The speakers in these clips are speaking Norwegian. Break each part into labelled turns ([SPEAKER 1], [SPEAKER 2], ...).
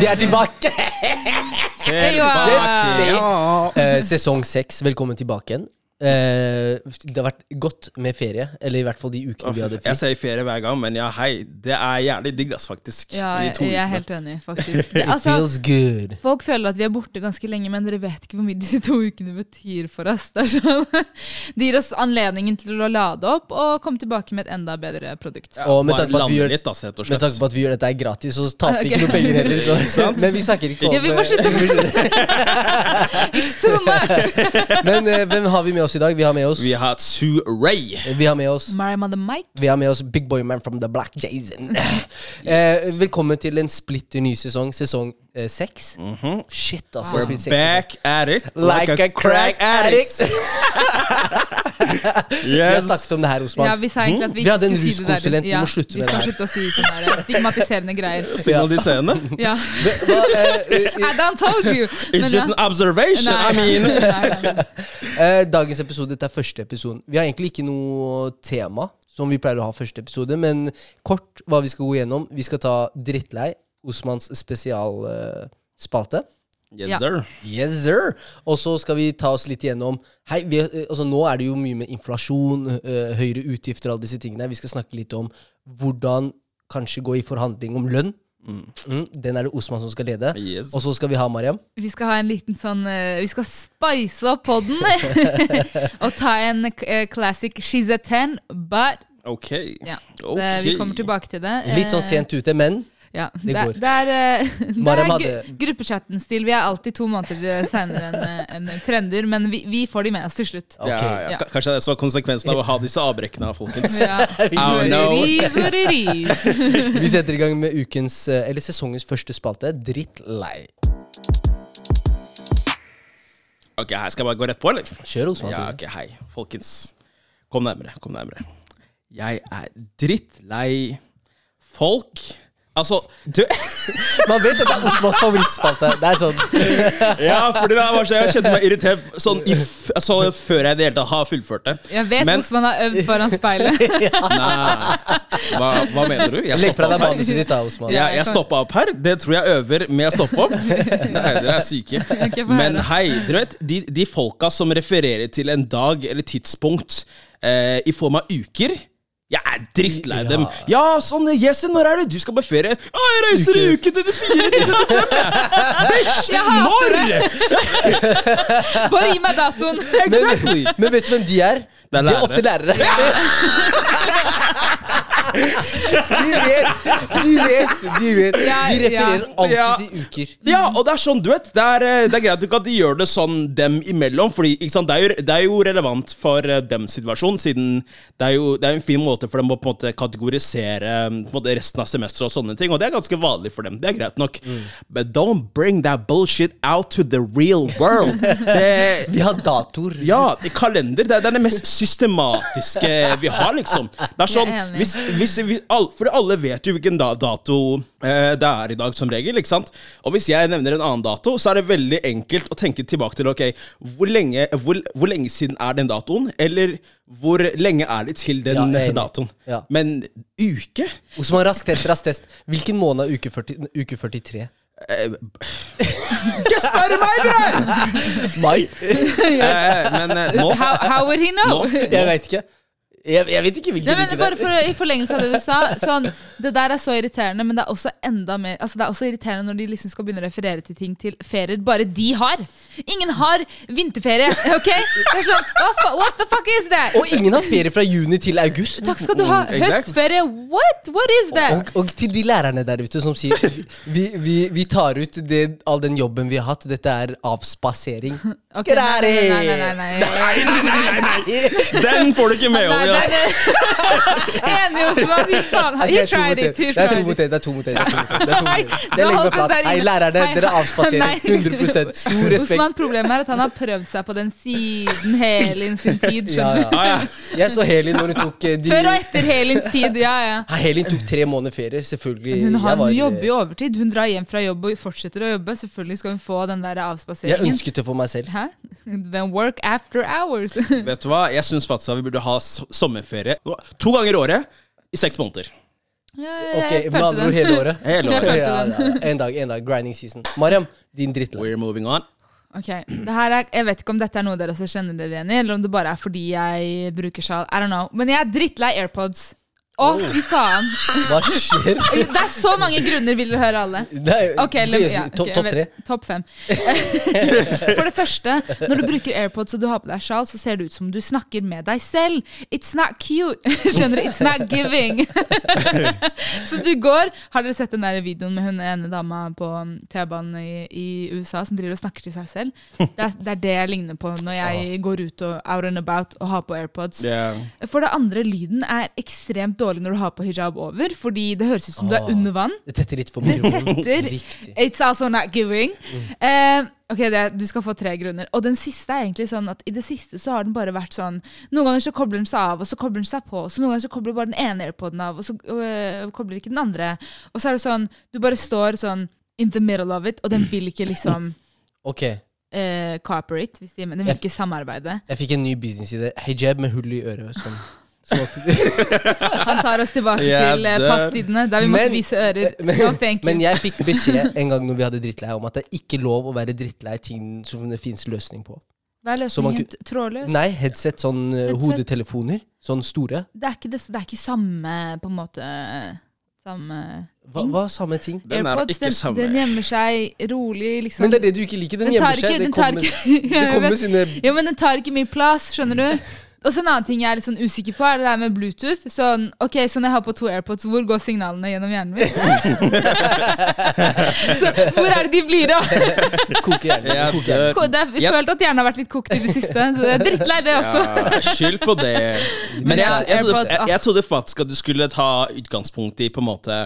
[SPEAKER 1] Vi er tilbake!
[SPEAKER 2] Tilbake.
[SPEAKER 3] Ja.
[SPEAKER 1] Eh, sesong seks, velkommen tilbake igjen. Eh, det har vært godt med ferie, eller i hvert fall de ukene vi hadde fri.
[SPEAKER 2] Jeg sier ferie hver gang, men ja, hei. Det er jævlig digg, ass, faktisk.
[SPEAKER 3] Ja,
[SPEAKER 2] De to
[SPEAKER 3] jeg er
[SPEAKER 2] ukene.
[SPEAKER 3] helt enig, faktisk. Det,
[SPEAKER 1] It
[SPEAKER 3] altså,
[SPEAKER 1] feels good.
[SPEAKER 3] folk føler at vi er borte ganske lenge, men dere vet ikke hvor mye disse to ukene betyr for oss. Det, er sånn. det gir oss anledningen til å lade opp og komme tilbake med et enda bedre produkt.
[SPEAKER 2] Ja,
[SPEAKER 1] Og med
[SPEAKER 2] bare
[SPEAKER 1] tanke på at vi
[SPEAKER 2] lande
[SPEAKER 1] gjør-
[SPEAKER 2] litt, ass, rett og
[SPEAKER 1] Med
[SPEAKER 2] slett.
[SPEAKER 1] tanke på at vi gjør dette her gratis, så taper vi
[SPEAKER 3] Ok.
[SPEAKER 1] ikke noe penger heller. Så.
[SPEAKER 2] Sant.
[SPEAKER 1] Men vi snakker ikke om eh,
[SPEAKER 3] Ja, vi må slutte med So much!
[SPEAKER 1] Men eh, hvem har vi med oss i dag? Vi har med oss
[SPEAKER 2] Vi har Sue Ray.
[SPEAKER 1] vi har med oss,
[SPEAKER 3] Mariam on the mic.
[SPEAKER 1] vi har med oss Big Boy Man from the Black Jason. Eh, velkommen til en splitter ny sesong, sesong eh, seks. Shit, altså.
[SPEAKER 2] Mhm. We're
[SPEAKER 1] splitter seks sesong.
[SPEAKER 2] back at it
[SPEAKER 1] Like a crack addict. Vi har
[SPEAKER 2] yes.
[SPEAKER 1] snakket om det her, Osman.
[SPEAKER 3] Ja, vi sa egentlig at vi,
[SPEAKER 1] Vi hadde en
[SPEAKER 3] ikke skulle si det
[SPEAKER 1] ruskonsulent, vi
[SPEAKER 3] der.
[SPEAKER 1] må
[SPEAKER 3] Ja,
[SPEAKER 1] slutte med
[SPEAKER 3] Vi skal
[SPEAKER 1] det her.
[SPEAKER 3] slutte å si sånne der stigmatiserende greier.
[SPEAKER 2] Stigmatiserende.
[SPEAKER 3] Ja.
[SPEAKER 1] Hva, eh,
[SPEAKER 3] I done told you! Men
[SPEAKER 2] It's just
[SPEAKER 3] ja.
[SPEAKER 2] an observation.
[SPEAKER 3] Nei,
[SPEAKER 2] I
[SPEAKER 3] nei,
[SPEAKER 2] mean
[SPEAKER 3] nei, nei, nei.
[SPEAKER 1] Eh, Dagens episode, dette er første episoden. Vi har egentlig ikke noe tema, som vi pleier å ha første episode, men kort hva vi skal gå gjennom. Vi skal ta Drittlei, Osmans eh, spesialspalte.
[SPEAKER 2] Yes,
[SPEAKER 3] Ja.
[SPEAKER 2] sir.
[SPEAKER 1] yes, sir! Og så skal vi ta oss litt gjennom Hei, vi, eh, altså Nå er det jo mye med inflasjon, eh, høyere utgifter, alle disse tingene. Vi skal snakke litt om hvordan kanskje gå i forhandling om lønn. Mm, den er det Osman som skal lede.
[SPEAKER 2] Yes.
[SPEAKER 1] Og så skal vi ha Mariam.
[SPEAKER 3] Vi skal ha en liten sånn eh, Vi skal spice opp podden og ta en eh, classic She's a ten, but
[SPEAKER 2] Ok.
[SPEAKER 3] ja.
[SPEAKER 2] Ok.
[SPEAKER 3] det, Vi kommer tilbake til det. Eh,
[SPEAKER 1] Litt sånn sent ute, men
[SPEAKER 3] Ja,
[SPEAKER 1] Det
[SPEAKER 3] det,
[SPEAKER 1] går.
[SPEAKER 3] er- det er, eh, det
[SPEAKER 1] Mariam
[SPEAKER 3] er
[SPEAKER 1] hadde-
[SPEAKER 3] gru- gruppechatten-stil. Vi er alltid to måneder seinere enn eh, enn trender, men vi, vi får de med oss til slutt.
[SPEAKER 2] Ja,
[SPEAKER 1] Ok.
[SPEAKER 2] ja.
[SPEAKER 3] Ja.
[SPEAKER 2] K- Kanskje det er så konsekvensen av å ha disse avbrekkene, folkens.
[SPEAKER 3] Ja.
[SPEAKER 2] Oh, no.
[SPEAKER 3] Ris, ris.
[SPEAKER 1] Vi setter i gang med ukens, eh, eller sesongens første spalte, Drittlei.
[SPEAKER 2] Ok, her Skal jeg bare gå rett på, eller?
[SPEAKER 1] Kjør, Osman.
[SPEAKER 2] Ja,
[SPEAKER 1] Ja,
[SPEAKER 2] ok, hei. Folkens, kom nærmere, kom nærmere. Jeg er drittlei folk. Altså, du
[SPEAKER 1] Man vet at det er Osmans favorittspalte. Det er sånn
[SPEAKER 2] Ja, fordi det var så jeg kjente meg irritert sånn i f altså, før jeg i det hele tatt har fullført det.
[SPEAKER 3] Jeg vet
[SPEAKER 2] Men-
[SPEAKER 3] hvordan man har øvd foran speilet.
[SPEAKER 2] Nei, hva, hva mener du? Jeg
[SPEAKER 1] Legg fra
[SPEAKER 2] stoppa
[SPEAKER 1] deg
[SPEAKER 2] opp her.
[SPEAKER 1] manuset ditt, da, Osman.
[SPEAKER 2] Jeg,
[SPEAKER 3] jeg
[SPEAKER 2] jeg
[SPEAKER 3] kan-
[SPEAKER 2] stoppa opp her. Det tror jeg øver med å stoppe opp. Nei, dere er syke.
[SPEAKER 3] få høre.
[SPEAKER 2] Men hei, dere vet, de, de folka som refererer til en dag eller tidspunkt eh, i form av uker jeg er drittlei
[SPEAKER 1] Ja.
[SPEAKER 2] dem. Ja, sånn Jesse, når er det du skal på ferie? Å, jeg reiser i uke 34 til 35! Bitch!
[SPEAKER 3] Jeg hater
[SPEAKER 2] Når?!
[SPEAKER 3] Bare gi meg datoen!
[SPEAKER 2] Exactly!
[SPEAKER 1] Men vet du hvem de er?
[SPEAKER 2] Det er
[SPEAKER 1] de er
[SPEAKER 2] lærere.
[SPEAKER 1] ofte lærere. de vet, de vet, de vet. De
[SPEAKER 3] Ja, ja.
[SPEAKER 1] refererer
[SPEAKER 2] Ja.
[SPEAKER 1] alltid til uker.
[SPEAKER 2] Ja, og det er sånn, du vet. Det er, eh, det er greit at du ikke at de gjør det sånn dem imellom. Fordi ikke sant, det, er jo, det er jo relevant for eh, dems situasjon, siden det er jo det er en fin måte for dem å på en måte kategorisere eh, på en måte resten av semesteret og sånne ting. Og det er ganske vanlig for dem. Det er greit nok. But don't bring that bullshit out to the real world. Det,
[SPEAKER 1] De har datoer.
[SPEAKER 2] ja, kalender. Det er, det er det mest systematiske vi har, liksom. Det er sånn,
[SPEAKER 3] Jeg er enig.
[SPEAKER 2] hvis, hvis, hvis, all, For alle vet jo hvilken da, dato eh, det er i dag, som regel. ikke sant? Og hvis jeg nevner en annen dato, så er det veldig enkelt å tenke tilbake til ok, hvor lenge, hvor, hvor lenge siden er den datoen? Eller hvor lenge er det til den
[SPEAKER 1] Ja, jeg er enig.
[SPEAKER 2] datoen?
[SPEAKER 1] Ja.
[SPEAKER 2] Men uke?
[SPEAKER 1] Osman, rask test, rask test. Hvilken måned er uke, 40, uke 43?
[SPEAKER 2] Eh, Ikke spør meg, bror!
[SPEAKER 1] Mai?
[SPEAKER 2] Eh, men eh, nå,
[SPEAKER 3] How, how would he know?
[SPEAKER 2] nå,
[SPEAKER 1] Jeg veit ikke. Jeg, jeg vet ikke
[SPEAKER 3] Nei,
[SPEAKER 1] hvilken
[SPEAKER 3] men
[SPEAKER 1] uke det
[SPEAKER 3] bare
[SPEAKER 1] er.
[SPEAKER 3] for, å- I forlengelse av det du sa sånn, Det der er så irriterende, men det er også enda mer Altså det er også irriterende når de liksom skal begynne å referere til ting til ferier bare de har. Ingen har vinterferie, OK? Det er sånn, hva fa- What the fuck is that?
[SPEAKER 1] Og ingen har ferie fra juni til august.
[SPEAKER 3] Takk skal du ha.
[SPEAKER 2] Mm, exactly.
[SPEAKER 3] Høstferie. What? What is
[SPEAKER 1] Og,
[SPEAKER 3] that?
[SPEAKER 1] og til de lærerne der ute som sier vi, vi, vi tar ut det, all den jobben vi har hatt, dette er avspasering.
[SPEAKER 3] Ok, nei, nei, nei, nei, nei, nei, nei.
[SPEAKER 2] Den får du ikke med
[SPEAKER 3] Nei,
[SPEAKER 2] over. altså.
[SPEAKER 3] nei,
[SPEAKER 2] ass.
[SPEAKER 3] nei. Enig, Osman. Fy faen.
[SPEAKER 1] Ok,
[SPEAKER 3] He
[SPEAKER 1] det er to mot en.
[SPEAKER 3] tried it.
[SPEAKER 1] Det
[SPEAKER 3] He
[SPEAKER 1] er to
[SPEAKER 3] tried
[SPEAKER 1] mot
[SPEAKER 3] it.
[SPEAKER 1] en. Det er to mot en. det er to mot en, det er to mot en.
[SPEAKER 3] Nei,
[SPEAKER 1] Jeg legger
[SPEAKER 3] hold
[SPEAKER 1] meg
[SPEAKER 3] den
[SPEAKER 1] flat.
[SPEAKER 3] der
[SPEAKER 1] Nei,
[SPEAKER 3] inne.
[SPEAKER 1] lærerne,
[SPEAKER 3] Nei.
[SPEAKER 1] dere avspaserer.
[SPEAKER 3] Nei.
[SPEAKER 1] 100 Stor respekt.
[SPEAKER 3] Osman, problemet er at han har prøvd seg på den siden Helin sin tid,
[SPEAKER 1] Ja,
[SPEAKER 3] skjønner du.
[SPEAKER 1] ja.
[SPEAKER 2] Ah, ja.
[SPEAKER 1] Jeg så Helin når hun tok eh, de
[SPEAKER 3] Før og etter Helins tid, ja ja.
[SPEAKER 1] Nei, Helin tok tre måneder ferie, selvfølgelig.
[SPEAKER 3] Hun, har,
[SPEAKER 1] Jeg var,
[SPEAKER 3] hun
[SPEAKER 1] eh,
[SPEAKER 3] jobber jo overtid. Hun drar hjem fra jobb og fortsetter å jobbe. Selvfølgelig skal hun få den der
[SPEAKER 1] Jeg
[SPEAKER 3] avspaseringen.
[SPEAKER 1] ønsket det for meg selv.
[SPEAKER 3] Hæ? Then work after hours.
[SPEAKER 2] Vet du hva? Jeg syns faktisk at vi burde ha s- sommerferie to ganger i året i seks måneder.
[SPEAKER 3] Ja, ja, ja, jeg
[SPEAKER 1] Ok, med
[SPEAKER 3] Eh, følte
[SPEAKER 1] andre ord
[SPEAKER 3] den.
[SPEAKER 1] hele året.
[SPEAKER 2] Hele året.
[SPEAKER 3] Jeg følte
[SPEAKER 1] Ja,
[SPEAKER 3] den.
[SPEAKER 1] ja, ja. En dag, en dag. Grinding season. Mariam, din drittlag.
[SPEAKER 2] We're moving on.
[SPEAKER 3] Ok, det her er, Jeg vet ikke om dette er noe dere også kjenner dere igjen i, eller om det bare er fordi jeg bruker sjal. I don't know. Men jeg er drittlei AirPods. Å,
[SPEAKER 1] Oh.
[SPEAKER 3] fy faen.
[SPEAKER 1] Hva skjer?
[SPEAKER 3] Det er så mange grunner, vil dere høre alle.
[SPEAKER 1] Nei,
[SPEAKER 3] Ok,
[SPEAKER 1] det
[SPEAKER 3] lem-
[SPEAKER 1] gjøres-
[SPEAKER 3] ja,
[SPEAKER 1] topp
[SPEAKER 3] ok,
[SPEAKER 1] topp
[SPEAKER 3] vel,
[SPEAKER 1] tre.
[SPEAKER 3] Topp fem. For det første, når du bruker AirPods og du har på deg sjal, så ser det ut som du snakker med deg selv. It's not cute. Skjønner du? It's not giving. så du går Har dere sett den der videoen med hun ene dama på mm, T-banen i, i USA som driver og snakker til seg selv? Det er, det er det jeg ligner på når jeg går ut og out and about og har på AirPods.
[SPEAKER 2] Yeah.
[SPEAKER 3] For det andre, lyden er ekstremt dårlig når du har på hijab over, fordi det høres ut som du
[SPEAKER 1] Ah.
[SPEAKER 3] er under vann.
[SPEAKER 1] Det tetter litt for
[SPEAKER 3] Det
[SPEAKER 1] mikrofonen.
[SPEAKER 3] tetter.
[SPEAKER 1] Riktig.
[SPEAKER 3] It's also not giving.
[SPEAKER 1] Mm.
[SPEAKER 3] Eh, ok, det, Du skal få tre grunner. Og den siste er egentlig sånn at i det siste så har den bare vært sånn Noen ganger så kobler den seg av, og så kobler den seg på. Og så noen ganger så kobler bare den ene airpoden av, og så øh, kobler ikke den andre. Og så er det sånn Du bare står sånn in the middle of it, og den vil ikke liksom
[SPEAKER 1] Ok,
[SPEAKER 3] eh, cooperate, hvis de, men den vil ikke samarbeide.
[SPEAKER 1] jeg fikk en ny businessidé. Hijab med hull i øret. Sånn. Så,
[SPEAKER 3] Han tar oss tilbake
[SPEAKER 2] Yeah,
[SPEAKER 3] til eh,
[SPEAKER 2] det-
[SPEAKER 3] passtidene, der vi måtte
[SPEAKER 1] Men-
[SPEAKER 3] vise ører.
[SPEAKER 1] men,
[SPEAKER 3] No, thank you.
[SPEAKER 1] men jeg fikk beskjed en gang når vi hadde drittlei om at det er ikke lov å være drittlei ting som det finnes løsning på.
[SPEAKER 3] Hva er
[SPEAKER 1] så man
[SPEAKER 3] løsningen? Trådløs?
[SPEAKER 1] Nei, headset, sånn eh,
[SPEAKER 3] Headset.
[SPEAKER 1] hodetelefoner. Sånn store.
[SPEAKER 3] det er ikke, det, det er ikke samme på en måte samme
[SPEAKER 1] Hva,
[SPEAKER 3] Mm.
[SPEAKER 1] hva samme ting?
[SPEAKER 3] Sånn-
[SPEAKER 2] Den er
[SPEAKER 3] AirPods,
[SPEAKER 2] ikke samme.
[SPEAKER 3] Den gjemmer seg rolig, liksom.
[SPEAKER 1] Men det er det du ikke liker. Den
[SPEAKER 3] Den tar
[SPEAKER 1] gjemmer seg. Det
[SPEAKER 3] ikke, den tar
[SPEAKER 1] kommer,
[SPEAKER 3] ikke
[SPEAKER 1] det
[SPEAKER 3] Jeg
[SPEAKER 1] kommer
[SPEAKER 3] vet.
[SPEAKER 1] sine
[SPEAKER 3] Jo, men den tar ikke mye plass, skjønner du? Og så en annen ting jeg er litt sånn usikker på, er det der med Bluetooth. Sånn, ok, så når jeg har på to AirPods, hvor går signalene gjennom hjernen min? så hvor er det de blir av?
[SPEAKER 1] koker hjernen.
[SPEAKER 2] Jeg
[SPEAKER 1] koker hjernen.
[SPEAKER 3] Ko- det er- Jeg
[SPEAKER 2] Ja.
[SPEAKER 3] følte at hjernen har vært litt kokt i det siste, så jeg er drittlei det også.
[SPEAKER 2] Ja, skyld på det. Men jeg, jeg, trodde,
[SPEAKER 3] Ja, AirPods,
[SPEAKER 2] jeg,
[SPEAKER 3] ah.
[SPEAKER 2] jeg trodde faktisk at du skulle ta utgangspunkt i på en måte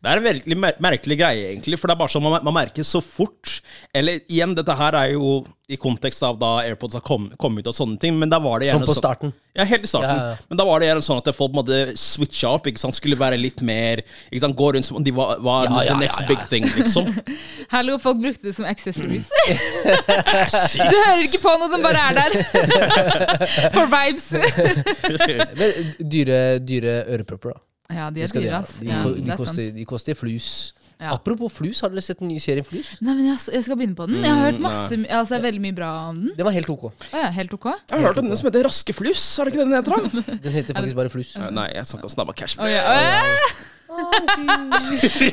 [SPEAKER 2] det er en veldig mer merkelig greie, egentlig. For det er bare sånn man, man merker så fort. Eller igjen, dette her er jo i kontekst av da AirPods har kom, kommet ut og sånne ting, men da var det
[SPEAKER 1] Sånn
[SPEAKER 2] gjerne
[SPEAKER 1] på
[SPEAKER 2] så-
[SPEAKER 1] starten.
[SPEAKER 2] Ja, helt i starten.
[SPEAKER 1] Ja, ja.
[SPEAKER 2] Men da var det gjerne sånn at folk måtte switche opp. ikke sant? Skulle være litt mer ikke sant? Gå rundt som om de var, var
[SPEAKER 1] Ja, ja,
[SPEAKER 2] the next
[SPEAKER 1] ja, ja.
[SPEAKER 2] big thing, liksom.
[SPEAKER 3] Hallo, folk brukte det som accessories.
[SPEAKER 2] Det er sykt.
[SPEAKER 3] Du hører ikke på noe, den bare er der. For vibes.
[SPEAKER 1] Men dyre, dyre ørepropper, da.
[SPEAKER 3] Ja, de
[SPEAKER 1] Det
[SPEAKER 3] er
[SPEAKER 1] skal de
[SPEAKER 3] dyre,
[SPEAKER 1] ha.
[SPEAKER 3] ass.
[SPEAKER 1] De,
[SPEAKER 3] Ja,
[SPEAKER 1] ko-
[SPEAKER 3] det
[SPEAKER 1] de,
[SPEAKER 3] er sant.
[SPEAKER 1] koster, de koster flus.
[SPEAKER 3] Ja.
[SPEAKER 1] Apropos flus, har dere sett den nye serien Flus?
[SPEAKER 3] Nei, men jeg, s- jeg skal begynne på den. Jeg har
[SPEAKER 1] Mm,
[SPEAKER 3] hørt masse, altså, veldig mye bra om den.
[SPEAKER 1] Den var helt ok.
[SPEAKER 3] Å ja, helt ok? Å
[SPEAKER 2] Jeg har hørt om den som heter Raske fluss, er det ikke den den heter? da?
[SPEAKER 1] Den heter faktisk bare Flus.
[SPEAKER 2] Ja, Nei, jeg snakka om snabba cash.
[SPEAKER 3] ja. Å, ja.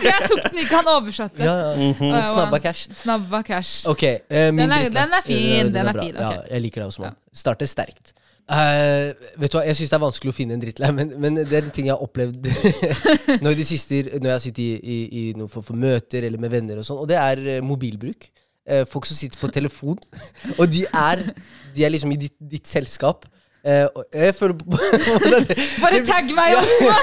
[SPEAKER 3] Jeg tok den ikke, han oversatte.
[SPEAKER 1] Ja, ja.
[SPEAKER 3] Å, ja,
[SPEAKER 1] Snabba
[SPEAKER 3] wow.
[SPEAKER 1] cash.
[SPEAKER 3] Snabba cash.
[SPEAKER 1] Ok, eh, min
[SPEAKER 3] Den er-
[SPEAKER 1] drittlag.
[SPEAKER 3] den er fin,
[SPEAKER 1] Eh,
[SPEAKER 3] den er
[SPEAKER 1] bra.
[SPEAKER 3] fin, ok.
[SPEAKER 1] Ja, jeg liker deg også, mann. Starter sterkt. Eh, vet du hva, Jeg syns det er vanskelig å finne en drittlei, men, men det er en ting jeg har opplevd nå i det siste, når jeg har sittet i, i, i noen form for møter eller med venner, og sånn, og det er eh, mobilbruk. Eh, folk som sitter på telefon, og de er, de er liksom i ditt, ditt selskap. Eh, og jeg føler på hvordan det-
[SPEAKER 3] Bare tagg meg også!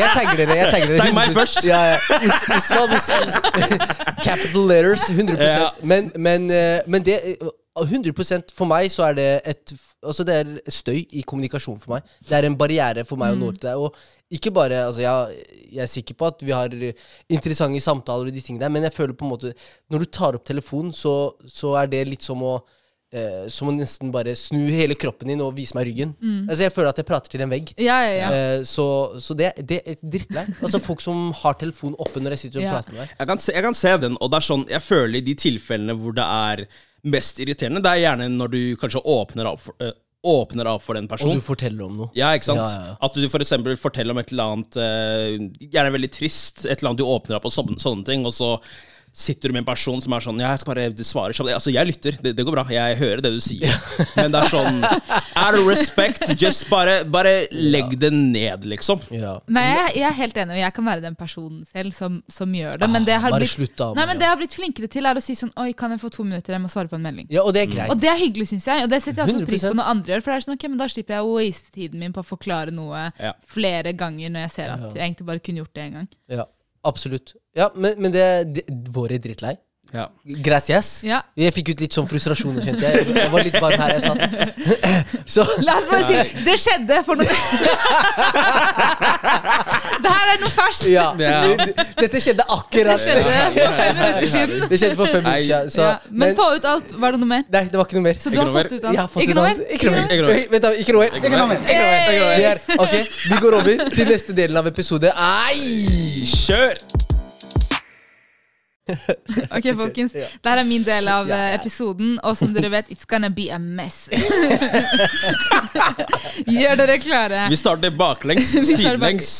[SPEAKER 1] Jeg tagger dere. jeg tagger dere
[SPEAKER 2] Tagg meg
[SPEAKER 1] 100
[SPEAKER 2] først.
[SPEAKER 1] Ja, ja. Os- Osvald, os, os, capital letters, 100
[SPEAKER 2] Ja.
[SPEAKER 1] Men, men, eh, men det eh, 100 for meg så er det et Altså det er støy i kommunikasjon for meg. Det er en barriere for meg å
[SPEAKER 2] Mm.
[SPEAKER 1] nå ut til deg. Og ikke bare altså jeg, jeg er sikker på at vi har interessante samtaler, og de tingene der, men jeg føler på en måte Når du tar opp telefonen, så, så er det litt som å eh, Som å nesten bare snu hele kroppen din og vise meg ryggen.
[SPEAKER 2] Mm.
[SPEAKER 1] Altså Jeg føler at jeg prater til en vegg.
[SPEAKER 3] Ja, ja, ja.
[SPEAKER 1] Eh, Så, så det, det er drittlei. Altså Folk som har telefonen oppe når jeg sitter og
[SPEAKER 3] Ja.
[SPEAKER 1] prater med deg.
[SPEAKER 2] Jeg kan, se, jeg kan se den, og det er sånn Jeg føler i de tilfellene hvor det er mest irriterende, det er gjerne når du kanskje åpner opp for, eh, åpner opp for en
[SPEAKER 1] Og
[SPEAKER 2] person.
[SPEAKER 1] du forteller om noe.
[SPEAKER 2] Ja, ikke sant?
[SPEAKER 1] Ja, ja, ja.
[SPEAKER 2] At du for eksempel forteller om et eller annet eh, Gjerne veldig trist, et eller annet du åpner opp og sånne, sånne ting, og så sitter du med en person som er sånn Ja, jeg skal bare du svarer kjapt. Altså, jeg lytter, det, det går bra. Jeg hører det du sier. Men det er sånn Out of respect, just bare, bare legg det ned, liksom.
[SPEAKER 1] Ja.
[SPEAKER 3] Nei, jeg, jeg er helt enig, og jeg kan være den personen selv som, som gjør det. Men det jeg har
[SPEAKER 1] Ah, bare
[SPEAKER 3] blitt,
[SPEAKER 1] slutt da,
[SPEAKER 3] nei,
[SPEAKER 1] Maria.
[SPEAKER 3] men det jeg har blitt flinkere til, er å si sånn Oi, kan jeg få to minutter? Jeg må svare på en melding.
[SPEAKER 1] ja, og det er greit.
[SPEAKER 3] Og det er hyggelig, syns jeg. Og det setter jeg også pris på
[SPEAKER 1] 100%.
[SPEAKER 3] når andre gjør. For det er sånn, ok, men Da slipper jeg å waste tiden min på å forklare noe
[SPEAKER 2] Ja.
[SPEAKER 3] flere ganger når jeg ser at jeg egentlig bare kunne gjort det én gang.
[SPEAKER 1] Ja, absolutt. Ja, men, men det, det Vår er drittlei.
[SPEAKER 2] Ja.
[SPEAKER 1] Gracias.
[SPEAKER 3] Ja.
[SPEAKER 1] Jeg fikk ut litt sånn frustrasjoner, kjente jeg. Jeg var litt varm her jeg satt. Så
[SPEAKER 3] La oss bare si det skjedde for noe Det her er noe ferskt.
[SPEAKER 1] ja.
[SPEAKER 2] Ja.
[SPEAKER 1] Dette skjedde
[SPEAKER 3] Det
[SPEAKER 1] akkurat.
[SPEAKER 3] skjedde for fem minutter siden.
[SPEAKER 1] Det skjedde for fem
[SPEAKER 2] Nei.
[SPEAKER 1] minutter siden. Så,
[SPEAKER 3] Ja. Men
[SPEAKER 1] men
[SPEAKER 3] få ut alt. Var det noe mer?
[SPEAKER 1] nei, det var ikke noe mer.
[SPEAKER 3] Så du
[SPEAKER 2] Ikke
[SPEAKER 3] har
[SPEAKER 2] noe
[SPEAKER 3] fått
[SPEAKER 2] mer.
[SPEAKER 3] ut alt?
[SPEAKER 1] Jeg har fått
[SPEAKER 3] Ikke
[SPEAKER 1] ut
[SPEAKER 3] noe
[SPEAKER 1] alt.
[SPEAKER 3] mer?
[SPEAKER 1] Ikke noe mer.
[SPEAKER 2] Ikke noe mer.
[SPEAKER 1] Oi, Vent, da. Ikke noe mer. Ikke noe mer. Ikke noe mer.
[SPEAKER 3] Hey!
[SPEAKER 1] Det er, ok, Vi går over til neste delen av episode. Ei!
[SPEAKER 2] Kjør!
[SPEAKER 3] Ok, folkens.
[SPEAKER 1] Ja.
[SPEAKER 3] Det her er min del av
[SPEAKER 1] Ja,
[SPEAKER 3] eh,
[SPEAKER 1] ja.
[SPEAKER 3] episoden, og som dere vet, it's gonna be a mess. Gjør dere klare.
[SPEAKER 2] Vi starter baklengs,
[SPEAKER 3] Vi starter
[SPEAKER 2] sidelengs.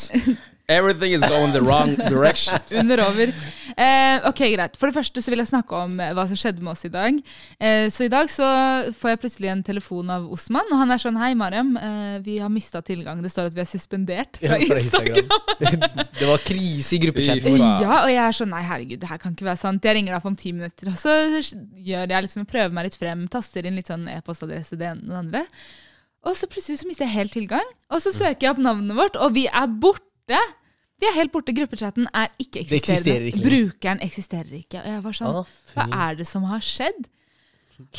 [SPEAKER 2] Everything is going the wrong direction.
[SPEAKER 3] Under over. Eh, ok, greit. For det første så vil jeg snakke om eh, hva som skjedde med oss i dag. Eh, så i dag så får jeg plutselig en telefon av Osman, og han er sånn Hei, Mariam. Eh, vi har mista tilgang. Det står at vi er suspendert
[SPEAKER 1] Ja,
[SPEAKER 3] fra
[SPEAKER 1] fra
[SPEAKER 3] Instagram.
[SPEAKER 1] Instagram. Det, det var krise i
[SPEAKER 2] Fy
[SPEAKER 1] gruppechatten.
[SPEAKER 2] faen.
[SPEAKER 3] Eh, Ja, og jeg er sånn Nei, herregud, det her kan ikke være sant. Jeg ringer deg på om ti minutter, og så gjør jeg liksom, prøver meg litt frem, taster inn litt sånn e-postadresse det ene og det andre. Og så plutselig så mister jeg helt tilgang. Og så søker jeg opp navnet vårt, og vi er borte! Vi er helt borte. Gruppechatten er ikke
[SPEAKER 1] Det eksisterer
[SPEAKER 3] eksisterende.
[SPEAKER 1] ikke lenger.
[SPEAKER 3] Brukeren eksisterer ikke. Og jeg var sånn
[SPEAKER 1] Ah,
[SPEAKER 3] Hva
[SPEAKER 1] fy.
[SPEAKER 3] er det som har skjedd?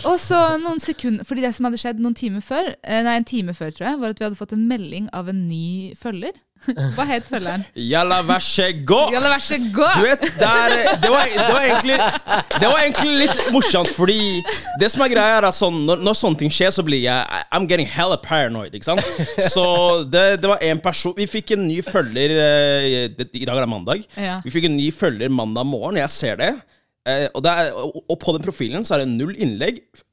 [SPEAKER 3] Og så noen sekunder, fordi det som hadde skjedd noen timer før, eh, nei, en time før, tror jeg, var at vi hadde fått en melding av en ny følger. Hva het følgeren?
[SPEAKER 2] Jalla, vær så god!
[SPEAKER 3] Jalla, vær så god!
[SPEAKER 2] Du vet, det, er, det, var, det, var egentlig, det var egentlig litt morsomt, fordi det som er greia, er at sånn, når, når sånne ting skjer, så blir jeg I'm getting hella paranoid, ikke sant? Så det, det var en person Vi fikk en ny følger eh, det, I dag er det mandag.
[SPEAKER 3] Ja.
[SPEAKER 2] Vi fikk en ny følger mandag morgen, jeg ser det. Eh, og, det er, og, og på den profilen så er det null innlegg. F-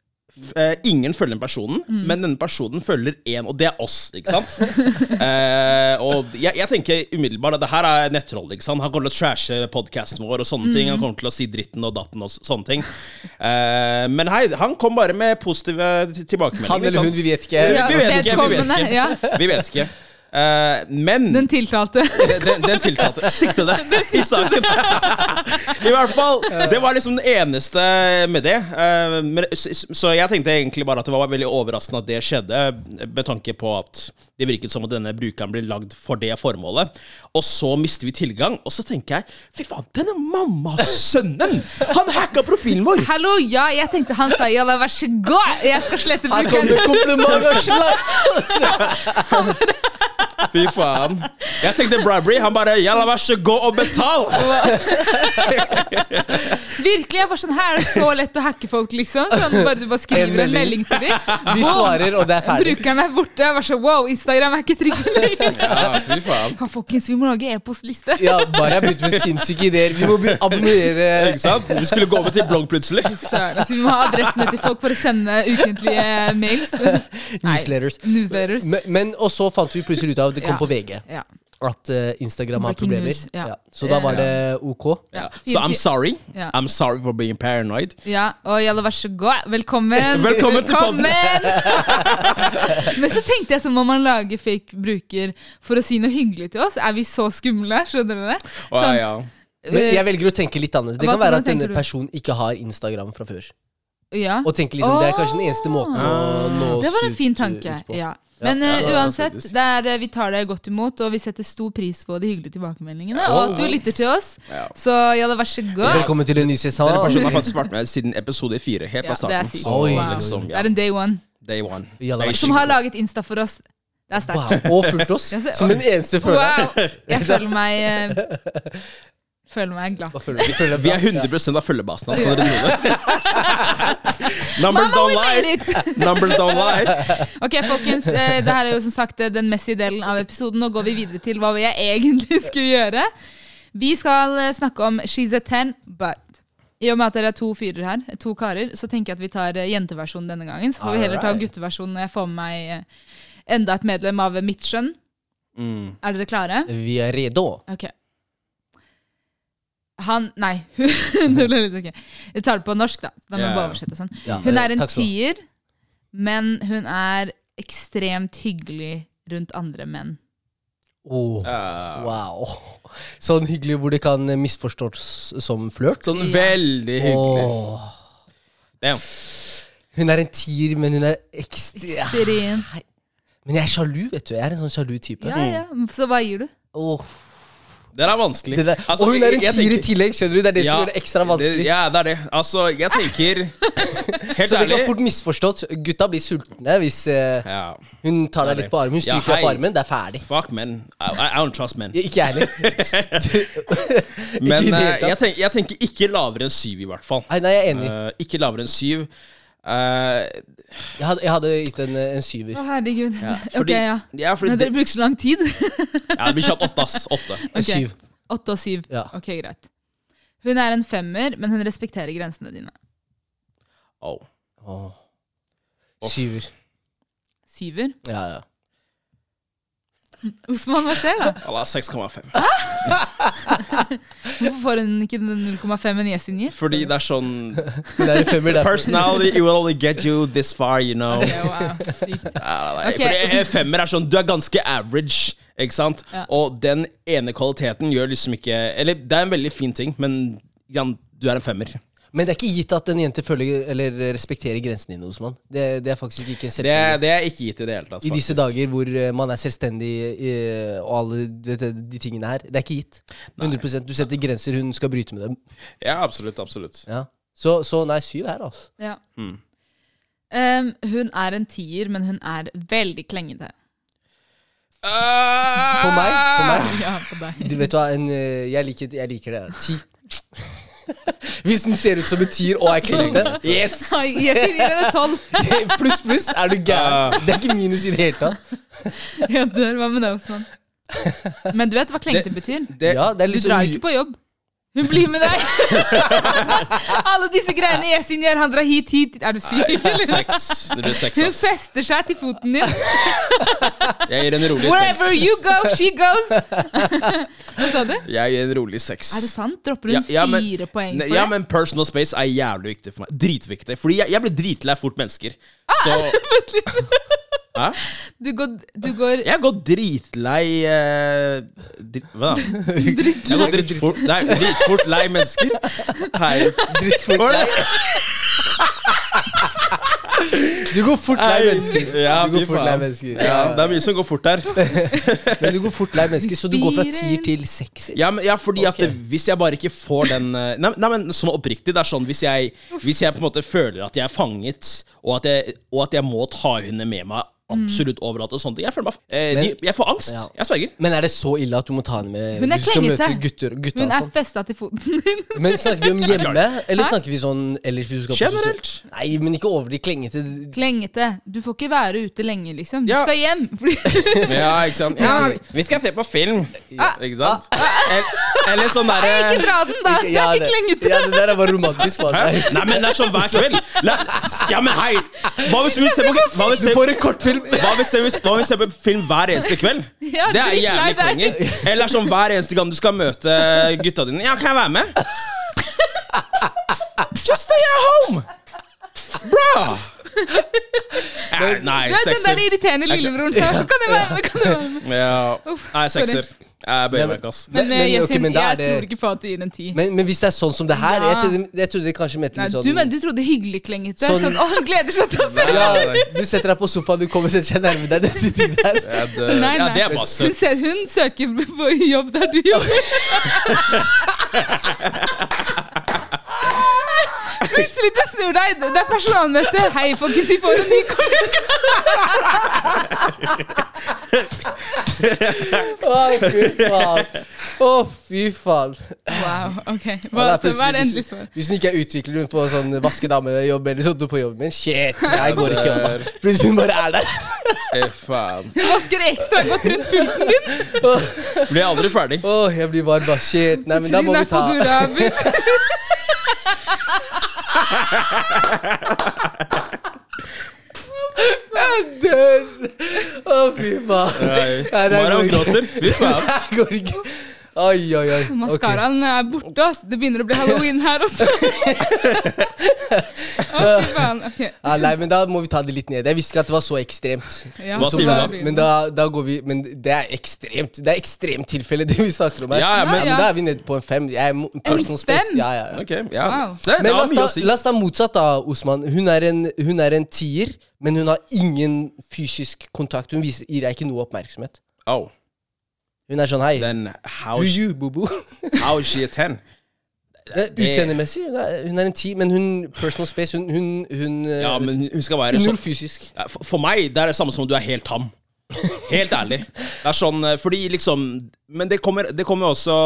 [SPEAKER 2] Eh, ingen følger den personen,
[SPEAKER 3] Mm.
[SPEAKER 2] men denne personen følger én, og det er oss, ikke sant? Eh, og jeg, jeg tenker umiddelbart at det her er nettroll. ikke sant? Han kommer til å trashe podkasten vår og sånne
[SPEAKER 3] Mm.
[SPEAKER 2] ting. Han kommer til å si dritten og datten og s- sånne ting. Eh, men hei, han kom bare med positive t- tilbakemeldinger.
[SPEAKER 1] Han eller
[SPEAKER 2] ikke
[SPEAKER 1] hun,
[SPEAKER 2] sant?
[SPEAKER 1] vi vet ikke.
[SPEAKER 2] vi vet ikke, vi vet
[SPEAKER 3] vedkommende,
[SPEAKER 2] ikke.
[SPEAKER 3] Ja,
[SPEAKER 2] Vi vet ikke. Eh, men
[SPEAKER 3] den tiltalte.
[SPEAKER 2] den, den, den tiltalte. Siktede i saken. I hvert fall. Det var liksom det eneste med det. Eh, men- s- s- Så jeg tenkte egentlig bare at det var veldig overraskende at det skjedde, med tanke på at det virket som at denne brukeren ble lagd for det formålet. Og så mister vi tilgang, og så tenker jeg fy faen, denne mammasønnen! Han hacka profilen vår!
[SPEAKER 3] Hallo, ja, jeg tenkte han sa ja, da, vær så god. Jeg skal slette
[SPEAKER 1] Her kommer
[SPEAKER 3] brukeren.
[SPEAKER 1] komplimenter og slag!
[SPEAKER 2] Fy faen. Jeg tenkte bribery. Han bare jalla, vær så god og betal!
[SPEAKER 3] Virkelig, jeg var sånn, her er det så lett å hacke folk, liksom. Sånn, bare, du bare
[SPEAKER 1] En
[SPEAKER 3] skriver en
[SPEAKER 1] melding.
[SPEAKER 3] melding til dem.
[SPEAKER 1] Vi svarer, og det er ferdig.
[SPEAKER 3] Brukeren er borte. Jeg var sånn, wow, Instagram er ikke trygg lenger.
[SPEAKER 2] Ja, fy faen.
[SPEAKER 3] Ja, folkens, vi må lage e-postliste.
[SPEAKER 1] Ja, bare jeg begynte med sinnssyke ideer. Vi må begynne å abonnere.
[SPEAKER 2] Ikke sant? Vi skulle gå over til blogg plutselig.
[SPEAKER 3] Søren, altså, vi må ha adressene til folk for å sende ukentlige mails. Nei,
[SPEAKER 1] Newsletters.
[SPEAKER 3] Newsletters.
[SPEAKER 1] Men, men, og så fant vi plutselig ut av det kom
[SPEAKER 3] Ja.
[SPEAKER 1] på VG
[SPEAKER 3] Ja.
[SPEAKER 1] at eh, Instagram har
[SPEAKER 3] Breaking
[SPEAKER 1] problemer.
[SPEAKER 3] news, ja.
[SPEAKER 1] Så da var det OK.
[SPEAKER 2] Ja.
[SPEAKER 3] Ja.
[SPEAKER 2] Så I'm sorry.
[SPEAKER 3] Ja.
[SPEAKER 2] I'm sorry for being paranoid.
[SPEAKER 3] Ja, og jalla, vær så god. Velkommen.
[SPEAKER 2] Velkommen til podden.
[SPEAKER 3] Velkommen! Men så tenkte jeg sånn, må man lage fake bruker for å si noe hyggelig til oss? Er vi så skumle? Skjønner du det?
[SPEAKER 2] Å,
[SPEAKER 3] Sånn,
[SPEAKER 2] ja.
[SPEAKER 1] Men jeg velger å tenke litt annerledes. Det
[SPEAKER 3] Hva-
[SPEAKER 1] kan være
[SPEAKER 3] hvordan
[SPEAKER 1] at denne
[SPEAKER 3] tenker du?
[SPEAKER 1] personen ikke har Instagram fra før.
[SPEAKER 3] Eh, ja.
[SPEAKER 1] Og tenker liksom, Det er kanskje den eneste måten
[SPEAKER 2] Ah.
[SPEAKER 1] å nå
[SPEAKER 3] Det var en
[SPEAKER 1] oss
[SPEAKER 3] fin
[SPEAKER 1] ut-
[SPEAKER 3] tanke.
[SPEAKER 1] ut på.
[SPEAKER 3] Ja. Men
[SPEAKER 2] ja,
[SPEAKER 3] eh,
[SPEAKER 2] det var
[SPEAKER 3] uansett,
[SPEAKER 2] faktisk.
[SPEAKER 3] det er, eh, vi tar deg godt imot, og vi setter stor pris på de hyggelige tilbakemeldingene. Og at du lytter til oss.
[SPEAKER 2] Ja.
[SPEAKER 3] Så jalla, vær så god.
[SPEAKER 1] Velkommen til en ny
[SPEAKER 2] Denne
[SPEAKER 1] sesong.
[SPEAKER 2] personen har faktisk vært med siden episode fire, helt
[SPEAKER 3] Ja,
[SPEAKER 2] fra
[SPEAKER 3] det er
[SPEAKER 2] starten.
[SPEAKER 3] sykt.
[SPEAKER 2] Så
[SPEAKER 1] Oi.
[SPEAKER 2] liksom,
[SPEAKER 3] Det
[SPEAKER 2] ja.
[SPEAKER 3] er en day one.
[SPEAKER 2] Day one.
[SPEAKER 1] Jalla,
[SPEAKER 2] Day
[SPEAKER 1] vær så
[SPEAKER 3] Som
[SPEAKER 2] shit.
[SPEAKER 3] har laget Insta for oss. Det er sterkt.
[SPEAKER 1] Wow. Og fulgt oss
[SPEAKER 3] Jeg ser-
[SPEAKER 1] som den eneste føler.
[SPEAKER 3] Wow! Jeg føler meg eh, Føler meg glad.
[SPEAKER 1] Hva føler du? Føler du
[SPEAKER 2] Vi
[SPEAKER 1] bra?
[SPEAKER 2] er 100 av følgebasen altså, hans, kan dere tro det? Numbers
[SPEAKER 3] Mamma,
[SPEAKER 2] don't
[SPEAKER 3] we
[SPEAKER 2] lie!
[SPEAKER 3] made it!
[SPEAKER 2] Numbers don't lie!
[SPEAKER 3] Ok, folkens. eh, Det her er jo som sagt eh, den messige delen av episoden. Nå går vi videre til hva jeg egentlig skulle gjøre. Vi skal eh, snakke om She's a ten, but i og med at dere er to fyrer her, to karer, så tenker jeg at vi tar eh, jenteversjonen denne gangen. Så får vi heller ta
[SPEAKER 1] Alright.
[SPEAKER 3] gutteversjonen når jeg får med meg eh, enda et medlem av eh, mitt skjønn.
[SPEAKER 2] Mm.
[SPEAKER 3] Er dere klare?
[SPEAKER 1] Vi er redo.
[SPEAKER 3] Ok. Han Nei, hun det ble litt ok. Jeg tar det på norsk, da. Da må
[SPEAKER 2] Ja,
[SPEAKER 3] jeg
[SPEAKER 2] ja.
[SPEAKER 3] bare oversette og sånn.
[SPEAKER 1] Ja,
[SPEAKER 3] Hun
[SPEAKER 1] eh,
[SPEAKER 3] er en
[SPEAKER 1] takk skal du ha.
[SPEAKER 3] tier, men hun er ekstremt hyggelig rundt andre menn.
[SPEAKER 1] Åh,
[SPEAKER 2] Ja.
[SPEAKER 1] Oh, wow. Sånn hyggelig hvor det kan eh, misforstås som flørt.
[SPEAKER 2] Sånn veldig hyggelig.
[SPEAKER 1] Åh.
[SPEAKER 2] Damn.
[SPEAKER 1] Hun er en tier, men hun er ekstra ja.
[SPEAKER 3] Ekstremt.
[SPEAKER 1] Men jeg er sjalu, vet du. Jeg er en sånn sjalu type.
[SPEAKER 3] Ja, ja. Så hva gir du?
[SPEAKER 1] Åh.
[SPEAKER 2] Den er vanskelig.
[SPEAKER 1] Det der.
[SPEAKER 2] Altså,
[SPEAKER 1] og hun er en
[SPEAKER 2] jeg- jeg
[SPEAKER 1] tier i
[SPEAKER 2] tenker-
[SPEAKER 1] tillegg, skjønner du? Det er det som
[SPEAKER 2] Ja,
[SPEAKER 1] gjør det ekstra vanskelig.
[SPEAKER 2] det- Ja, det er det. Altså, jeg tenker Helt
[SPEAKER 1] så det
[SPEAKER 2] ærlig
[SPEAKER 1] kan fort misforstått. Gutta blir sultne hvis eh,
[SPEAKER 2] ja.
[SPEAKER 1] hun tar deg
[SPEAKER 2] det er
[SPEAKER 1] litt på armen. Hun
[SPEAKER 2] Ja,
[SPEAKER 1] stryker deg på
[SPEAKER 2] hei.
[SPEAKER 1] armen, det er ferdig.
[SPEAKER 2] Fuck men I, I I don't trust men.
[SPEAKER 1] Ja, Ikke jeg heller. ikke i det
[SPEAKER 2] Men eh,
[SPEAKER 1] hele tatt.
[SPEAKER 2] jeg, tenker, jeg tenker ikke lavere enn syv, i hvert fall.
[SPEAKER 1] Nei, nei, jeg er enig.
[SPEAKER 2] Eh, ikke lavere enn syv. Eh,
[SPEAKER 1] Jeg hadde, jeg hadde gitt en, eh, en syver.
[SPEAKER 3] Å, herregud.
[SPEAKER 2] fordi,
[SPEAKER 3] ok, ja.
[SPEAKER 2] ja, fordi
[SPEAKER 3] Nei,
[SPEAKER 2] det,
[SPEAKER 3] dere bruker så lang tid.
[SPEAKER 2] ja, det blir kjapt åtte, ass. Åtte.
[SPEAKER 1] En
[SPEAKER 3] Ok.
[SPEAKER 1] syv.
[SPEAKER 3] Åtte og syv.
[SPEAKER 1] Ja.
[SPEAKER 3] Ok, greit. Hun er en femmer, men hun respekterer grensene dine.
[SPEAKER 2] Oh.
[SPEAKER 1] Åh. Syver.
[SPEAKER 3] Syver.
[SPEAKER 1] Ja, ja.
[SPEAKER 3] Osman, hva skjer da?
[SPEAKER 2] Ja, da, 6,5.
[SPEAKER 3] Hvorfor får hun ikke den 0,5-en Yesin gir?
[SPEAKER 2] Fordi det er sånn
[SPEAKER 1] Hun er en femmer derfor.
[SPEAKER 2] Personality you will only get you this far, you know.
[SPEAKER 3] Ok, wow. Sykt.
[SPEAKER 2] Ja, nei,
[SPEAKER 3] Ok.
[SPEAKER 2] Fordi en femmer er sånn Du er ganske average, ikke sant?
[SPEAKER 3] Ja.
[SPEAKER 2] Og den ene kvaliteten gjør liksom ikke Eller det er en veldig fin ting, men Jan, du er en femmer.
[SPEAKER 1] Men det er ikke gitt at en jente følger eller respekterer grensene dine, Osman. Det, det er faktisk ikke en
[SPEAKER 2] Det,
[SPEAKER 1] selvfølge.
[SPEAKER 2] det er ikke gitt i det hele tatt.
[SPEAKER 1] I disse
[SPEAKER 2] faktisk.
[SPEAKER 1] dager hvor eh, man er selvstendig eh, og alle du vet, de tingene her. Det er ikke gitt. 100 Du setter grenser, hun skal bryte med dem.
[SPEAKER 2] Ja, absolutt. absolutt
[SPEAKER 1] Ja. Så, så nei, syv her, altså.
[SPEAKER 3] Ja. Um, hun er en tier, men hun er veldig klengete.
[SPEAKER 1] På meg? På
[SPEAKER 2] Eh,
[SPEAKER 1] meg?
[SPEAKER 3] Ja, på deg.
[SPEAKER 1] Du vet hva, en, eh, jeg, liker, jeg liker det. Ti. Hvis den ser ut som en tier og er klingete, yes!
[SPEAKER 3] Ai, Yesin gir henne tolv.
[SPEAKER 1] Pluss, pluss, er du gæren? Det er ikke minus i det hele tatt.
[SPEAKER 3] Jeg dør. Hva med deg, Osman? Men du vet hva klengete betyr?
[SPEAKER 2] Det,
[SPEAKER 1] Ja, det er
[SPEAKER 3] Du
[SPEAKER 1] litt
[SPEAKER 3] drar
[SPEAKER 1] sånn
[SPEAKER 3] ikke på jobb. Hun blir med deg! Alle disse greiene Yesin gjør. Han drar hit, hit. Er du syk? eller?
[SPEAKER 2] Seks. Det blir seks,
[SPEAKER 3] Hun
[SPEAKER 2] ass.
[SPEAKER 3] fester seg til foten din.
[SPEAKER 2] Jeg gir en rolig seks.
[SPEAKER 3] Wherever you go, she goes. Hva sa du?
[SPEAKER 2] Jeg gir en rolig seks.
[SPEAKER 3] Er det sant? Dropper hun fire poeng
[SPEAKER 2] ne-
[SPEAKER 3] for
[SPEAKER 2] ja,
[SPEAKER 3] det?
[SPEAKER 2] men personal space er jævlig viktig for meg. Dritviktig. Fordi jeg, jeg blir dritlei fort mennesker. Så Hæ?
[SPEAKER 3] Du går, du går
[SPEAKER 2] Jeg går dritlei eh, dri, Hva da? Jeg går dritfort Nei, dritfort lei mennesker. Hei.
[SPEAKER 1] drittfort.
[SPEAKER 2] Var det?
[SPEAKER 1] Du går fort lei mennesker.
[SPEAKER 2] Ja,
[SPEAKER 1] Du går
[SPEAKER 2] fy
[SPEAKER 1] fort
[SPEAKER 2] faen.
[SPEAKER 1] lei mennesker.
[SPEAKER 2] Ja, det er mye som går fort her.
[SPEAKER 1] Men du går fort lei mennesker, så du går fra tier til sekser.
[SPEAKER 2] Ja, men, ja fordi
[SPEAKER 1] Ok.
[SPEAKER 2] at hvis jeg bare ikke får den eh, Nei, nei men sånn oppriktig, det er sånn hvis jeg, hvis jeg på en måte føler at jeg er fanget, og at jeg, og at jeg må ta henne med meg absolutt overalt og sånne ting Jeg føler meg eh,
[SPEAKER 1] Men-
[SPEAKER 2] de, Jeg får angst.
[SPEAKER 1] Ja.
[SPEAKER 2] Jeg sverger.
[SPEAKER 1] Men er det så ille at du må ta henne med
[SPEAKER 3] Hun er
[SPEAKER 1] hvis du skal møte
[SPEAKER 3] klengete.
[SPEAKER 1] gutter, gutta
[SPEAKER 3] Hun
[SPEAKER 1] og
[SPEAKER 3] er
[SPEAKER 1] sånn?
[SPEAKER 3] festa til foten din.
[SPEAKER 1] Men snakker vi om hjemme, eller
[SPEAKER 3] Hæ?
[SPEAKER 1] snakker vi sånn ellers hvis du skal på
[SPEAKER 2] Generelt.
[SPEAKER 1] sosial- Nei, men ikke over de klengete.
[SPEAKER 3] Klengete. Du får ikke være ute lenge, liksom. Du
[SPEAKER 2] Ja.
[SPEAKER 3] skal hjem. Fordi
[SPEAKER 2] Ja, ikke sant? Ja, vi skal se på film. Ikke sant? Eller, eller sånn derre
[SPEAKER 3] ikke dra den, da! Det er ikke klengete.
[SPEAKER 1] Ja, det der er bare romantisk. Man.
[SPEAKER 2] Hæ? Nei, men det er sånn hver kveld. La, ja, men hei! Hva hvis vi ser på Hva hvis
[SPEAKER 1] Du
[SPEAKER 2] vi
[SPEAKER 1] får en kortfilm.
[SPEAKER 2] hva hvis vi hva hvis vi ser på film hver eneste kveld?
[SPEAKER 3] Ja,
[SPEAKER 2] det er
[SPEAKER 3] dritlei
[SPEAKER 2] jævlig
[SPEAKER 3] deg.
[SPEAKER 2] poenger. Eller sånn hver eneste gang du skal møte gutta dine. Ja, kan jeg være med? Just stay at home! Bra! Nei, nei
[SPEAKER 3] Du er den der
[SPEAKER 2] sekser.
[SPEAKER 3] irriterende lillebroren som er sånn, Kan jeg være med? Kan jeg være med?
[SPEAKER 2] Ja.
[SPEAKER 3] Uff,
[SPEAKER 2] Nei, sekser. Jeg bøyer meg ikke, ass.
[SPEAKER 3] Men,
[SPEAKER 1] Men-
[SPEAKER 3] eh,
[SPEAKER 1] men, ok,
[SPEAKER 3] Yasin,
[SPEAKER 1] men da er
[SPEAKER 3] jeg
[SPEAKER 1] det-
[SPEAKER 3] tror ikke på at du gir en ti.
[SPEAKER 1] Men, men hvis det er sånn som det her
[SPEAKER 3] Ja.
[SPEAKER 1] Jeg trodde, jeg trodde det kanskje mente
[SPEAKER 3] Nei,
[SPEAKER 1] litt
[SPEAKER 3] du, men,
[SPEAKER 1] sånn
[SPEAKER 3] du trodde hyggelig klengete.
[SPEAKER 1] Sånn-
[SPEAKER 3] Sånn, Å, han gleder seg til å se
[SPEAKER 2] Nei,
[SPEAKER 1] ja,
[SPEAKER 2] nei, nei.
[SPEAKER 1] Du setter deg på sofaen, du kommer og setter seg nærme deg. Den sitter der.
[SPEAKER 2] Ja, det,
[SPEAKER 3] Nei,
[SPEAKER 2] ja,
[SPEAKER 3] nei.
[SPEAKER 2] det er bare
[SPEAKER 3] Hun,
[SPEAKER 2] søtt.
[SPEAKER 3] ser, hun søker på jobb der du jobber. Plutselig du snur deg, det er personalmester. Hei, folkens, vi får en ny kollega.
[SPEAKER 1] Å, fy faen. Å, fy faen.
[SPEAKER 3] Wow,
[SPEAKER 1] Og
[SPEAKER 3] ok.
[SPEAKER 1] det
[SPEAKER 3] Hva,
[SPEAKER 1] er
[SPEAKER 3] så, hva
[SPEAKER 1] plutselig-
[SPEAKER 3] er endelig svar?
[SPEAKER 1] Hvis hvis hun ikke er utvikler, hun får sånn vaskedamejobb eller sånt på jobben min. Shit, det her går ikke. mamma. Plutselig hun bare er der.
[SPEAKER 2] Eh, faen.
[SPEAKER 3] Hun vasker ekstra godt rundt pulten din.
[SPEAKER 1] Å,
[SPEAKER 2] Blir jeg aldri ferdig.
[SPEAKER 1] å, jeg blir varm, ass. Shit. Nei, men da må
[SPEAKER 3] Hun
[SPEAKER 1] vi
[SPEAKER 3] er
[SPEAKER 1] ta
[SPEAKER 3] fotograf.
[SPEAKER 1] Jeg dør. Å, fy faen.
[SPEAKER 2] Nei.
[SPEAKER 1] Nei, det er
[SPEAKER 2] Mariam
[SPEAKER 1] god idé.
[SPEAKER 2] gråter. Fy faen.
[SPEAKER 1] Det her går ikke. Oi, oi, oi. Ok.
[SPEAKER 3] Maskaraen er borte. ass. Det begynner å bli halloween her også. Å, fy faen. Ok.
[SPEAKER 1] Ja, nei, men da må vi ta det litt ned. Jeg visste ikke at det var så ekstremt.
[SPEAKER 3] Ja,
[SPEAKER 2] Hva
[SPEAKER 3] så
[SPEAKER 2] sier du da?
[SPEAKER 3] blir det.
[SPEAKER 1] Men da, da går vi Men det er ekstremt Det er ekstremt tilfelle, det vi snakker om her.
[SPEAKER 2] Ja, ja, men-
[SPEAKER 1] men Da er vi nede på en fem. Jeg er mo- personal space.
[SPEAKER 3] fem?
[SPEAKER 1] Ja, ja, ja.
[SPEAKER 2] Ok, ja.
[SPEAKER 3] Wow.
[SPEAKER 2] Se, det
[SPEAKER 1] Men la
[SPEAKER 2] har
[SPEAKER 1] oss,
[SPEAKER 2] mye å
[SPEAKER 1] ta,
[SPEAKER 2] si.
[SPEAKER 1] la oss ta motsatt, da, Osman. Hun er, en, hun er en tier, men hun har ingen fysisk kontakt. Hun viser, gir deg ikke noe oppmerksomhet.
[SPEAKER 2] Au.
[SPEAKER 1] Hun er sånn hei.
[SPEAKER 2] Then how,
[SPEAKER 1] Do
[SPEAKER 2] she,
[SPEAKER 1] you, bobo?
[SPEAKER 2] how is she a 10?
[SPEAKER 1] Det er Eh, Utseendemessig, hun, er- hun er en ti, men hun personal space Hun, hun, hun eh,
[SPEAKER 2] Ja, men hun skal være
[SPEAKER 1] Null
[SPEAKER 2] sånn
[SPEAKER 1] fysisk.
[SPEAKER 2] Ja, For for meg det er det samme som om du er helt tam. Helt ærlig. Det er sånn, eh, fordi liksom Men det kommer, det kommer jo også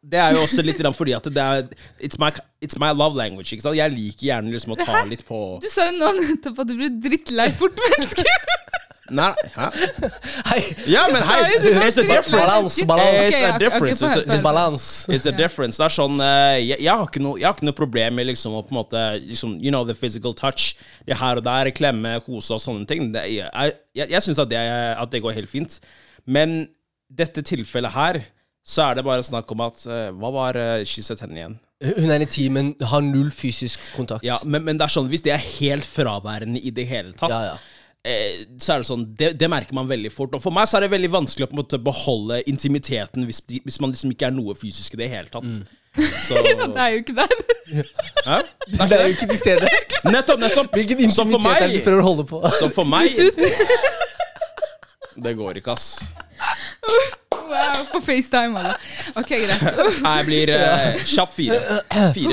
[SPEAKER 2] Det er jo også litt grann fordi at det er It's my, it's my love language. ikke sant? Jeg liker gjerne liksom å ta litt på
[SPEAKER 3] Du sa jo nå nettopp at du blir drittlei fort menneske.
[SPEAKER 2] Nei, hæ?
[SPEAKER 1] Hei!
[SPEAKER 2] Ja, men hei!
[SPEAKER 3] Nei, du var
[SPEAKER 2] There's a
[SPEAKER 3] drittlei.
[SPEAKER 2] difference.
[SPEAKER 1] Balans, balans.
[SPEAKER 3] Ok,
[SPEAKER 2] It's a
[SPEAKER 3] ja, ok,
[SPEAKER 2] difference.
[SPEAKER 3] få høre,
[SPEAKER 2] It's a-
[SPEAKER 3] få høre.
[SPEAKER 1] Balans.
[SPEAKER 2] It's a difference. Det er sånn eh, Jeg, jeg, har, ikke noe- jeg har ikke noe problem med liksom å på en måte liksom, You know, the physical touch. Det her og der, klemme, kose og sånne ting. Det, jeg jeg, jeg syns at, det- at det går helt fint. Men dette tilfellet her, så er det bare snakk om at eh, Hva var uh, She's a Ten igjen?
[SPEAKER 1] Hun er en ti, men har null fysisk kontakt.
[SPEAKER 2] Ja, men, men det er sånn, hvis det er helt fraværende i det hele tatt
[SPEAKER 1] Ja, ja.
[SPEAKER 2] eh, Så er det sånn, det, det merker man veldig fort. Og for meg så er det veldig vanskelig å på en måte beholde intimiteten hvis, de- hvis man liksom ikke er noe fysisk i det hele tatt. Så
[SPEAKER 3] Det er jo ikke der.
[SPEAKER 2] Hæ?
[SPEAKER 1] Det er jo ikke til stede.
[SPEAKER 2] Nettopp, nettopp!
[SPEAKER 1] Hvilken
[SPEAKER 2] Så for
[SPEAKER 1] intimitet er det du
[SPEAKER 2] meg,
[SPEAKER 1] prøver å holde på?
[SPEAKER 2] så for meg Det går ikke, ass.
[SPEAKER 3] Wow, på FaceTime, alle. Ok, greit.
[SPEAKER 2] Jeg blir eh, kjapp fire. Fire,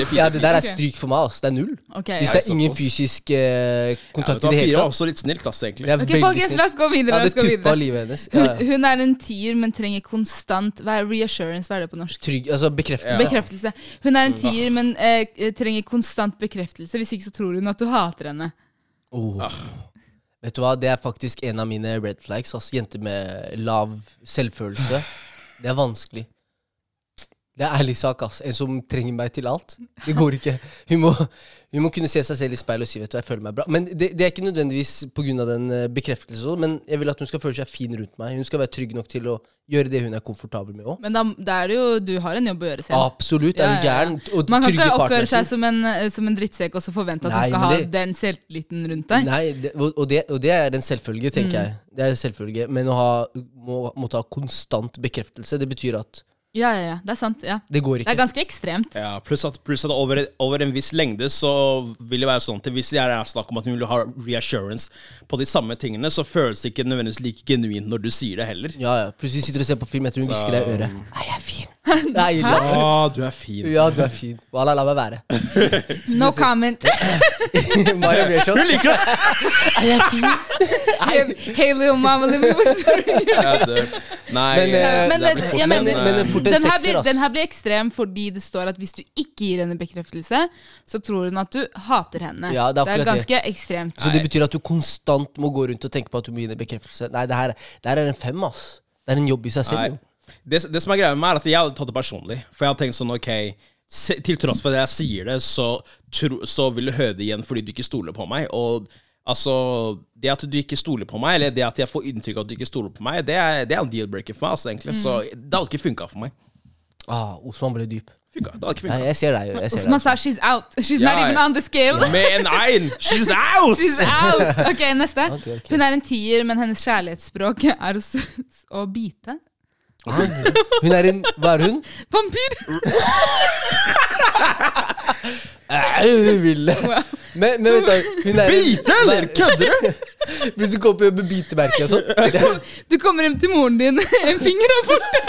[SPEAKER 1] Ja,
[SPEAKER 2] fire.
[SPEAKER 1] det der er
[SPEAKER 3] Ok.
[SPEAKER 1] stryk for meg. ass. Det er null.
[SPEAKER 3] Ok,
[SPEAKER 1] Hvis
[SPEAKER 3] ja.
[SPEAKER 1] det er ingen
[SPEAKER 2] såpass.
[SPEAKER 1] fysisk eh,
[SPEAKER 2] Ja, vet
[SPEAKER 1] kontakt
[SPEAKER 2] du hva,
[SPEAKER 1] i det
[SPEAKER 2] fire
[SPEAKER 1] hele
[SPEAKER 2] var
[SPEAKER 1] tatt.
[SPEAKER 2] også litt snilt, ass, egentlig.
[SPEAKER 1] Det er
[SPEAKER 3] Ok,
[SPEAKER 1] veldig
[SPEAKER 3] folkens, la
[SPEAKER 1] snilt.
[SPEAKER 3] oss gå videre.
[SPEAKER 1] Ja,
[SPEAKER 3] La
[SPEAKER 1] det
[SPEAKER 3] oss gå
[SPEAKER 1] tuppa
[SPEAKER 3] videre.
[SPEAKER 1] livet hennes. Ja,
[SPEAKER 3] Hun,
[SPEAKER 1] ja.
[SPEAKER 3] hun er en tier, men trenger konstant Hva er reassurance? Hva er det på norsk?
[SPEAKER 1] Trygg, altså bekreftelse.
[SPEAKER 3] Bekreftelse. Hun er en tier, men eh, trenger konstant bekreftelse. Hvis ikke så tror hun at du hater henne.
[SPEAKER 1] Oh. Vet du hva, det er faktisk en av mine red flags. Ass. Jenter med lav selvfølelse. Det er vanskelig. Det er ærlig sak, ass. En som trenger meg til alt. Det går ikke. Hun må, hun må kunne se seg selv i speilet og si vet du, jeg føler meg bra. Men det, det er ikke nødvendigvis pga. den eh, bekreftelsen, og sånn, men jeg vil at hun skal føle seg fin rundt meg. Hun skal være trygg nok til å gjøre det hun er komfortabel med òg.
[SPEAKER 3] Men da, da er det jo Du har en jobb å gjøre selv.
[SPEAKER 1] Absolutt. Er du
[SPEAKER 3] Ja, ja, ja.
[SPEAKER 1] gæren? Og
[SPEAKER 3] Man kan
[SPEAKER 1] Ah, trygge
[SPEAKER 3] ikke oppføre
[SPEAKER 1] partneren sin.
[SPEAKER 3] seg som en, eh, som en drittsekk og så forvente at
[SPEAKER 1] Nei,
[SPEAKER 3] du skal
[SPEAKER 1] men
[SPEAKER 3] ha
[SPEAKER 1] det-
[SPEAKER 3] den selvtilliten rundt deg.
[SPEAKER 1] Nei, det, og, og det, og det er en selvfølge, tenker
[SPEAKER 3] Mm.
[SPEAKER 1] jeg. Det er en selvfølge, Men å ha, må, måtte ha konstant bekreftelse, det betyr at
[SPEAKER 3] Ja, ja, ja, det er sant. ja
[SPEAKER 1] det går
[SPEAKER 3] Det er
[SPEAKER 1] ikke.
[SPEAKER 3] ganske ekstremt.
[SPEAKER 2] Ja, pluss at, pluss at over, over en viss lengde så vil det være sånn at hvis det er snakk om at hun vil ha reassurance på de samme tingene, så føles det ikke nødvendigvis like genuint når du sier det heller.
[SPEAKER 1] Ja, ja. Plutselig sitter du og ser på film etter hun
[SPEAKER 2] Så-
[SPEAKER 1] hvisker deg i øret. Nei, jeg er fin. Nei,
[SPEAKER 2] Å,
[SPEAKER 1] la,
[SPEAKER 2] du er fin.
[SPEAKER 1] ja, du er fin. Walla, la meg være.
[SPEAKER 3] No comment.
[SPEAKER 1] Mario Bjørsson.
[SPEAKER 2] Du liker det!
[SPEAKER 1] Nei, jeg er fin.
[SPEAKER 3] hey, little mama, let me whisper in your
[SPEAKER 2] Ja, det nei,
[SPEAKER 1] Men, eh,
[SPEAKER 3] Men
[SPEAKER 2] det er
[SPEAKER 3] det-
[SPEAKER 2] fort,
[SPEAKER 3] jeg
[SPEAKER 1] Men,
[SPEAKER 2] men,
[SPEAKER 1] men
[SPEAKER 2] eh,
[SPEAKER 1] fort en
[SPEAKER 3] den her,
[SPEAKER 1] sekser,
[SPEAKER 3] blir, den
[SPEAKER 1] ass.
[SPEAKER 3] her blir ekstrem fordi det står at hvis du ikke gir henne bekreftelse, så tror hun at du hater henne.
[SPEAKER 1] Ja, det er akkurat det.
[SPEAKER 3] ganske ekstremt.
[SPEAKER 1] Så det betyr at du konstant må gå rundt og tenke på at du må gi henne bekreftelse. Nei, det her, det her er en fem, ass. Det er en jobb i seg selv.
[SPEAKER 2] Nei.
[SPEAKER 1] jo.
[SPEAKER 2] Det, det som er greia med meg, er at jeg hadde tatt det personlig. For jeg hadde tenkt sånn, ok se, Til tross for at jeg sier det, så, tro, så vil du høre det igjen fordi du ikke stoler på meg. Og altså Det at du ikke stoler på meg, eller det at jeg får inntrykk av at du ikke stoler på meg, det er, det er en deal-breaker for meg. Altså, egentlig Så det hadde ikke funka for meg.
[SPEAKER 1] Ah, Osman ble dyp.
[SPEAKER 2] Funka, det hadde ikke
[SPEAKER 1] Nei,
[SPEAKER 2] funket.
[SPEAKER 1] jeg ser deg. Jeg ser altså.
[SPEAKER 3] Osman
[SPEAKER 1] deg.
[SPEAKER 3] sa 'she's out'. She's
[SPEAKER 2] Ja,
[SPEAKER 3] not even
[SPEAKER 2] ja.
[SPEAKER 3] on the scale.
[SPEAKER 2] Med en ein! She's out!
[SPEAKER 3] She's out! Ok, neste.
[SPEAKER 1] Ok, ok.
[SPEAKER 3] Hun er en tier, men hennes kjærlighetsspråk er å, s- å bite.
[SPEAKER 1] Hun er en Hva er hun?
[SPEAKER 3] Vampyr!
[SPEAKER 1] Au, Ville. Men, men vent da, hun er en-
[SPEAKER 2] Bite, eller? Kødder du?
[SPEAKER 1] Hvis du kommer på jobb med bitemerke og sånn.
[SPEAKER 3] Du kommer hjem til moren din, en finger er borte.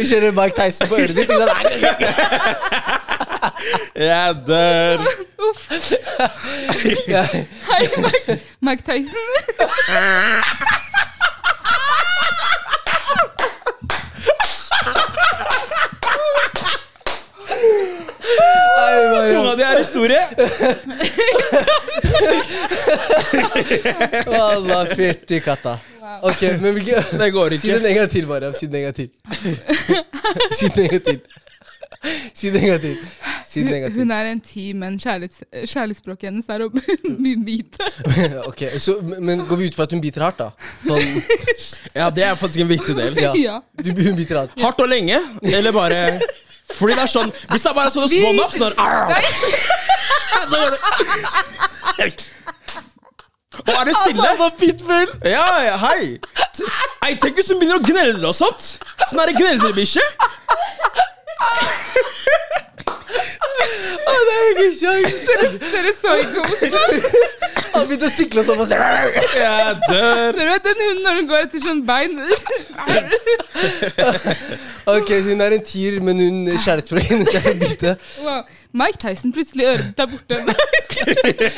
[SPEAKER 1] Hun kjører Mike Tyson på øret ditt. ikke sant?
[SPEAKER 2] Jeg dør.
[SPEAKER 3] Uff.
[SPEAKER 1] Ja.
[SPEAKER 3] Hei, Mike, Mike Tyson.
[SPEAKER 2] Tunga di er historie.
[SPEAKER 1] Wallah, fytti katta. Ok, men hvilke
[SPEAKER 2] Det går
[SPEAKER 1] Si den
[SPEAKER 2] ikke.
[SPEAKER 1] en gang til, Mariam. Si den en gang til. Si den en gang til. Si den en gang til. Si den en gang til.
[SPEAKER 3] Hun er en tier, men kjærlighets, kjærlighetsspråket hennes er å bite.
[SPEAKER 1] Ok, så, men men går vi ut fra at hun biter hardt, da? Sånn,
[SPEAKER 2] Ja, det er faktisk en viktig del.
[SPEAKER 1] ja.
[SPEAKER 3] Ja.
[SPEAKER 1] Du, hun biter hardt.
[SPEAKER 2] Hardt og lenge, eller bare Fordi det er sånn Hvis det er bare sånne små
[SPEAKER 3] Vi-
[SPEAKER 2] naps når Arr! Så går det Og er det stille?
[SPEAKER 1] Altså, pitbull!
[SPEAKER 2] Ja, ja, hei. T- Ei, tenk hvis hun begynner å gnelle og sånt. Sånn er det gneldrebikkje.
[SPEAKER 1] Å, det er jo ikke sjans!
[SPEAKER 3] Dere så ikke om
[SPEAKER 1] Han begynte å sikle oss opp og se.
[SPEAKER 2] Jeg dør.
[SPEAKER 3] Dere vet den hunden når den går etter sånn bein?
[SPEAKER 1] Ok, hun er en tier, men hun eh, skjerper seg inni seg bite.
[SPEAKER 3] Wow. Mike Tyson plutselig øret der borte.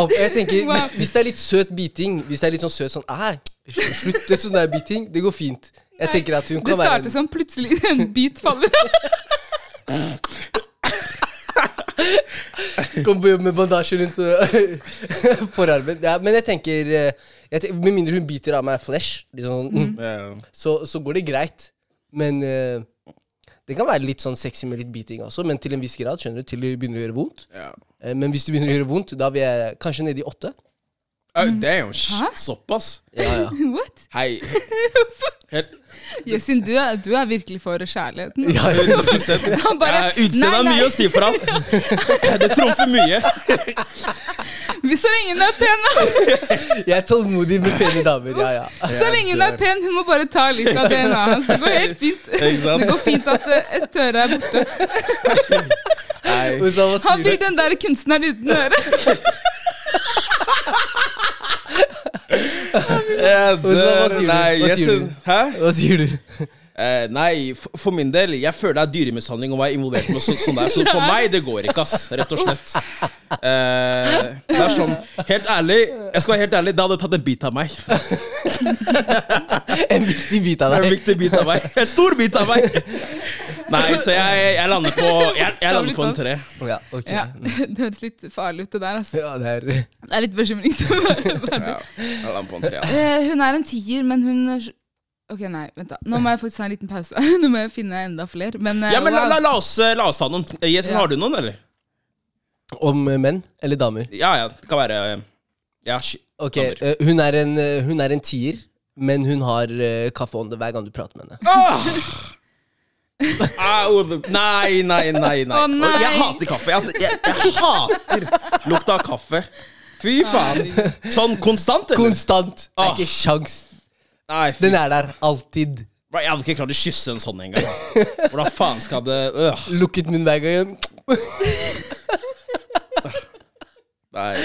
[SPEAKER 1] Og jeg tenker,
[SPEAKER 3] Wow.
[SPEAKER 1] hvis, hvis det er litt søt biting, hvis det er litt sånn søt sånn Æ, slutt det sånn der biting, det går fint. Jeg tenker at hun
[SPEAKER 3] Det
[SPEAKER 1] kan være
[SPEAKER 3] starter som plutselig en bit faller av. sånn.
[SPEAKER 1] Kom på jobb med bandasje rundt øh, forarmen. Ja, men jeg tenker, eh, jeg tenker Med mindre hun biter av meg flesh, liksom, sånn,
[SPEAKER 3] Mhm.
[SPEAKER 1] mm,
[SPEAKER 2] Ja.
[SPEAKER 1] så, så går det greit. Men eh, det kan være litt sånn sexy med litt biting også, men til en viss grad. skjønner du, Til det begynner å gjøre vondt.
[SPEAKER 2] Ja.
[SPEAKER 1] Eh, Men hvis det begynner å gjøre vondt, da vil jeg kanskje nede i åtte.
[SPEAKER 2] Au, damn, sh-
[SPEAKER 3] Hæ?
[SPEAKER 2] såpass?
[SPEAKER 1] Ja, ja.
[SPEAKER 3] What?
[SPEAKER 2] Hei. Helt
[SPEAKER 3] Jøssin, du, er- du er virkelig for kjærligheten.
[SPEAKER 1] Ja, ja.
[SPEAKER 2] 100 ja,
[SPEAKER 3] Han bare
[SPEAKER 2] Utseendet
[SPEAKER 3] nei,
[SPEAKER 2] har
[SPEAKER 3] nei,
[SPEAKER 2] mye å si for han. Det trumfer mye.
[SPEAKER 3] Så lenge hun er pen,
[SPEAKER 1] Jeg er tålmodig med pene damer. Ja, ja.
[SPEAKER 3] så lenge hun er pen, hun må bare ta litt av DNA-et hans. Det går helt fint.
[SPEAKER 2] Ikke
[SPEAKER 3] Det
[SPEAKER 2] sant?
[SPEAKER 3] går fint at eh, et øre er borte.
[SPEAKER 2] Nei.
[SPEAKER 1] Osama, hva
[SPEAKER 3] Han
[SPEAKER 1] sier
[SPEAKER 3] blir
[SPEAKER 1] du?
[SPEAKER 3] den der kunstneren uten øre.
[SPEAKER 2] Jeg
[SPEAKER 1] Hva sier du?
[SPEAKER 2] dør. Eh, Nei,
[SPEAKER 1] Hva
[SPEAKER 2] jeg
[SPEAKER 1] sier du?
[SPEAKER 2] syn- Hæ?
[SPEAKER 1] Hva sier du?
[SPEAKER 2] Eh, nei, for, for min del, jeg føler det er dyremishandling å være involvert med noe så, sånt der. Så for meg, det går ikke, ass. Rett og slett. Eh, det er sånn, helt ærlig, jeg skal være helt ærlig, det hadde tatt en bit av meg.
[SPEAKER 1] En viktig bit av
[SPEAKER 2] En
[SPEAKER 1] deg.
[SPEAKER 2] viktig bit av meg. En stor bit av meg. Nei, så jeg, jeg lander på Jeg, jeg lander på en tre.
[SPEAKER 1] Ja, ok.
[SPEAKER 3] Ja,
[SPEAKER 1] Ja.
[SPEAKER 3] det høres litt farlig ut, det der. Altså.
[SPEAKER 1] det er eh,
[SPEAKER 3] Det er litt bekymringsverdig.
[SPEAKER 2] Ja, jeg lander på en tre, ass.
[SPEAKER 3] Eh, hun er en tier, men hun Ok, nei, vent da. Nå må jeg faktisk ha en liten pause. Nå må jeg finne enda flere. Men, eh,
[SPEAKER 2] Ja, men la, la,
[SPEAKER 3] wow.
[SPEAKER 2] la, oss, la oss ta noen. Jason,
[SPEAKER 3] Ja.
[SPEAKER 2] har du noen, eller?
[SPEAKER 1] Om eh, menn eller damer?
[SPEAKER 2] Ja, ja. Det kan være eh, Ja, shit.
[SPEAKER 1] Ok,
[SPEAKER 2] Damer.
[SPEAKER 1] eh, hun er en, eh, hun er en tier, men hun har eh, kaffeånde hver gang du prater med henne.
[SPEAKER 2] Åh! Au, det- Ah, oh, nei, nei, nei. nei.
[SPEAKER 3] Å, nei.
[SPEAKER 2] Og Jeg hater kaffe. Jeg, jeg, jeg hater lukta av kaffe. Fy faen. Sånn konstant, eller?
[SPEAKER 1] Konstant! Det er
[SPEAKER 2] Ah.
[SPEAKER 1] ikke sjans.
[SPEAKER 2] Nei, fy.
[SPEAKER 1] Den er der alltid.
[SPEAKER 2] Bro, Jeg hadde ikke klart å kysse en sånn engang. Hvordan faen skal det øh.
[SPEAKER 1] Lukket munn hver gang.
[SPEAKER 2] Nei.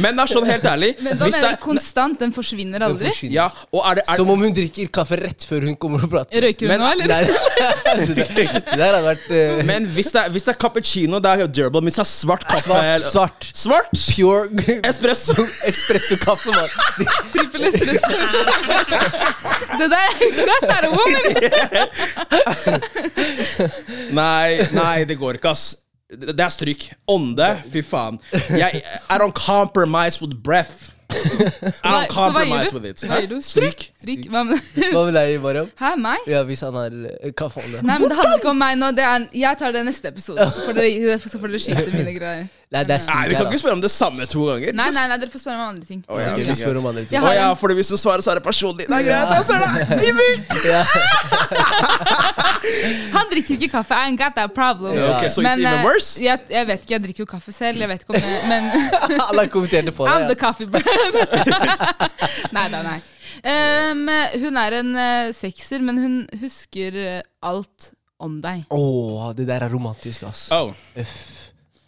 [SPEAKER 2] Men det er sånn helt ærlig
[SPEAKER 3] men da
[SPEAKER 2] hvis
[SPEAKER 3] mener
[SPEAKER 2] det
[SPEAKER 3] jeg konstant. Den forsvinner
[SPEAKER 1] Den
[SPEAKER 3] aldri.
[SPEAKER 1] forsvinner.
[SPEAKER 2] Ja, og er det, er,
[SPEAKER 1] Som om hun drikker kaffe rett før hun kommer og prater.
[SPEAKER 3] Røyker hun
[SPEAKER 2] Men-
[SPEAKER 3] nå, eller?
[SPEAKER 1] Nei, det der, det der hadde vært eh,
[SPEAKER 2] Men hvis det, er- hvis det er cappuccino, det er durable. Men hvis det er svart kaffe
[SPEAKER 1] svart. svart.
[SPEAKER 2] Svart?
[SPEAKER 1] Pure
[SPEAKER 2] Espresso.
[SPEAKER 1] espressokaffe, mann.
[SPEAKER 3] Trippel espresso. det der glass er det woman!
[SPEAKER 2] Nei, nei, det går ikke, ass. Det det er stryk. Ånde, fy faen. Jeg, I don't compromise with breath. I
[SPEAKER 3] Hva-
[SPEAKER 2] don't
[SPEAKER 3] så hva
[SPEAKER 2] compromise
[SPEAKER 3] gjør du?
[SPEAKER 2] with it.
[SPEAKER 3] Hva gjør du?
[SPEAKER 2] Stryk!
[SPEAKER 3] Drikk, hva med
[SPEAKER 1] Hva med deg, Mariam?
[SPEAKER 3] Hæ, meg?
[SPEAKER 1] Ja, hvis han har eh, kaffeånde.
[SPEAKER 3] Nei, men det handler ikke om meg nå. Det er, jeg tar det neste episode, så får dere, så får dere skifte mine greier.
[SPEAKER 1] Nei, det er
[SPEAKER 2] Nei,
[SPEAKER 1] stryk
[SPEAKER 2] Vi kan
[SPEAKER 1] her,
[SPEAKER 2] ikke spørre om det samme to ganger.
[SPEAKER 3] Nei, nei, nei, dere får spørre meg om andre ting.
[SPEAKER 2] Å, ja,
[SPEAKER 1] Ok,
[SPEAKER 2] ok,
[SPEAKER 1] vi
[SPEAKER 2] greit.
[SPEAKER 1] spør om andre ting.
[SPEAKER 2] Å
[SPEAKER 3] Jeg har
[SPEAKER 2] ja,
[SPEAKER 3] en.
[SPEAKER 2] fordi hvis du svarer, så er det personlig. Det er greit, jeg ser det! Jimmy!
[SPEAKER 3] Han drikker ikke kaffe. I ain't got that problem.
[SPEAKER 2] Ja, ok, so it's
[SPEAKER 3] Men,
[SPEAKER 2] even
[SPEAKER 3] eh,
[SPEAKER 2] worse?
[SPEAKER 3] Jeg, jeg vet ikke, jeg drikker jo kaffe selv. Jeg vet ikke om jeg, men
[SPEAKER 1] Alle har kommentert det for
[SPEAKER 3] I'm the
[SPEAKER 1] deg.
[SPEAKER 3] coffee brand. nei da, nei. Um, hun er en eh, sekser, men hun husker eh, alt om deg.
[SPEAKER 1] Å, det der er romantisk, ass.
[SPEAKER 2] Oh.
[SPEAKER 1] Uff.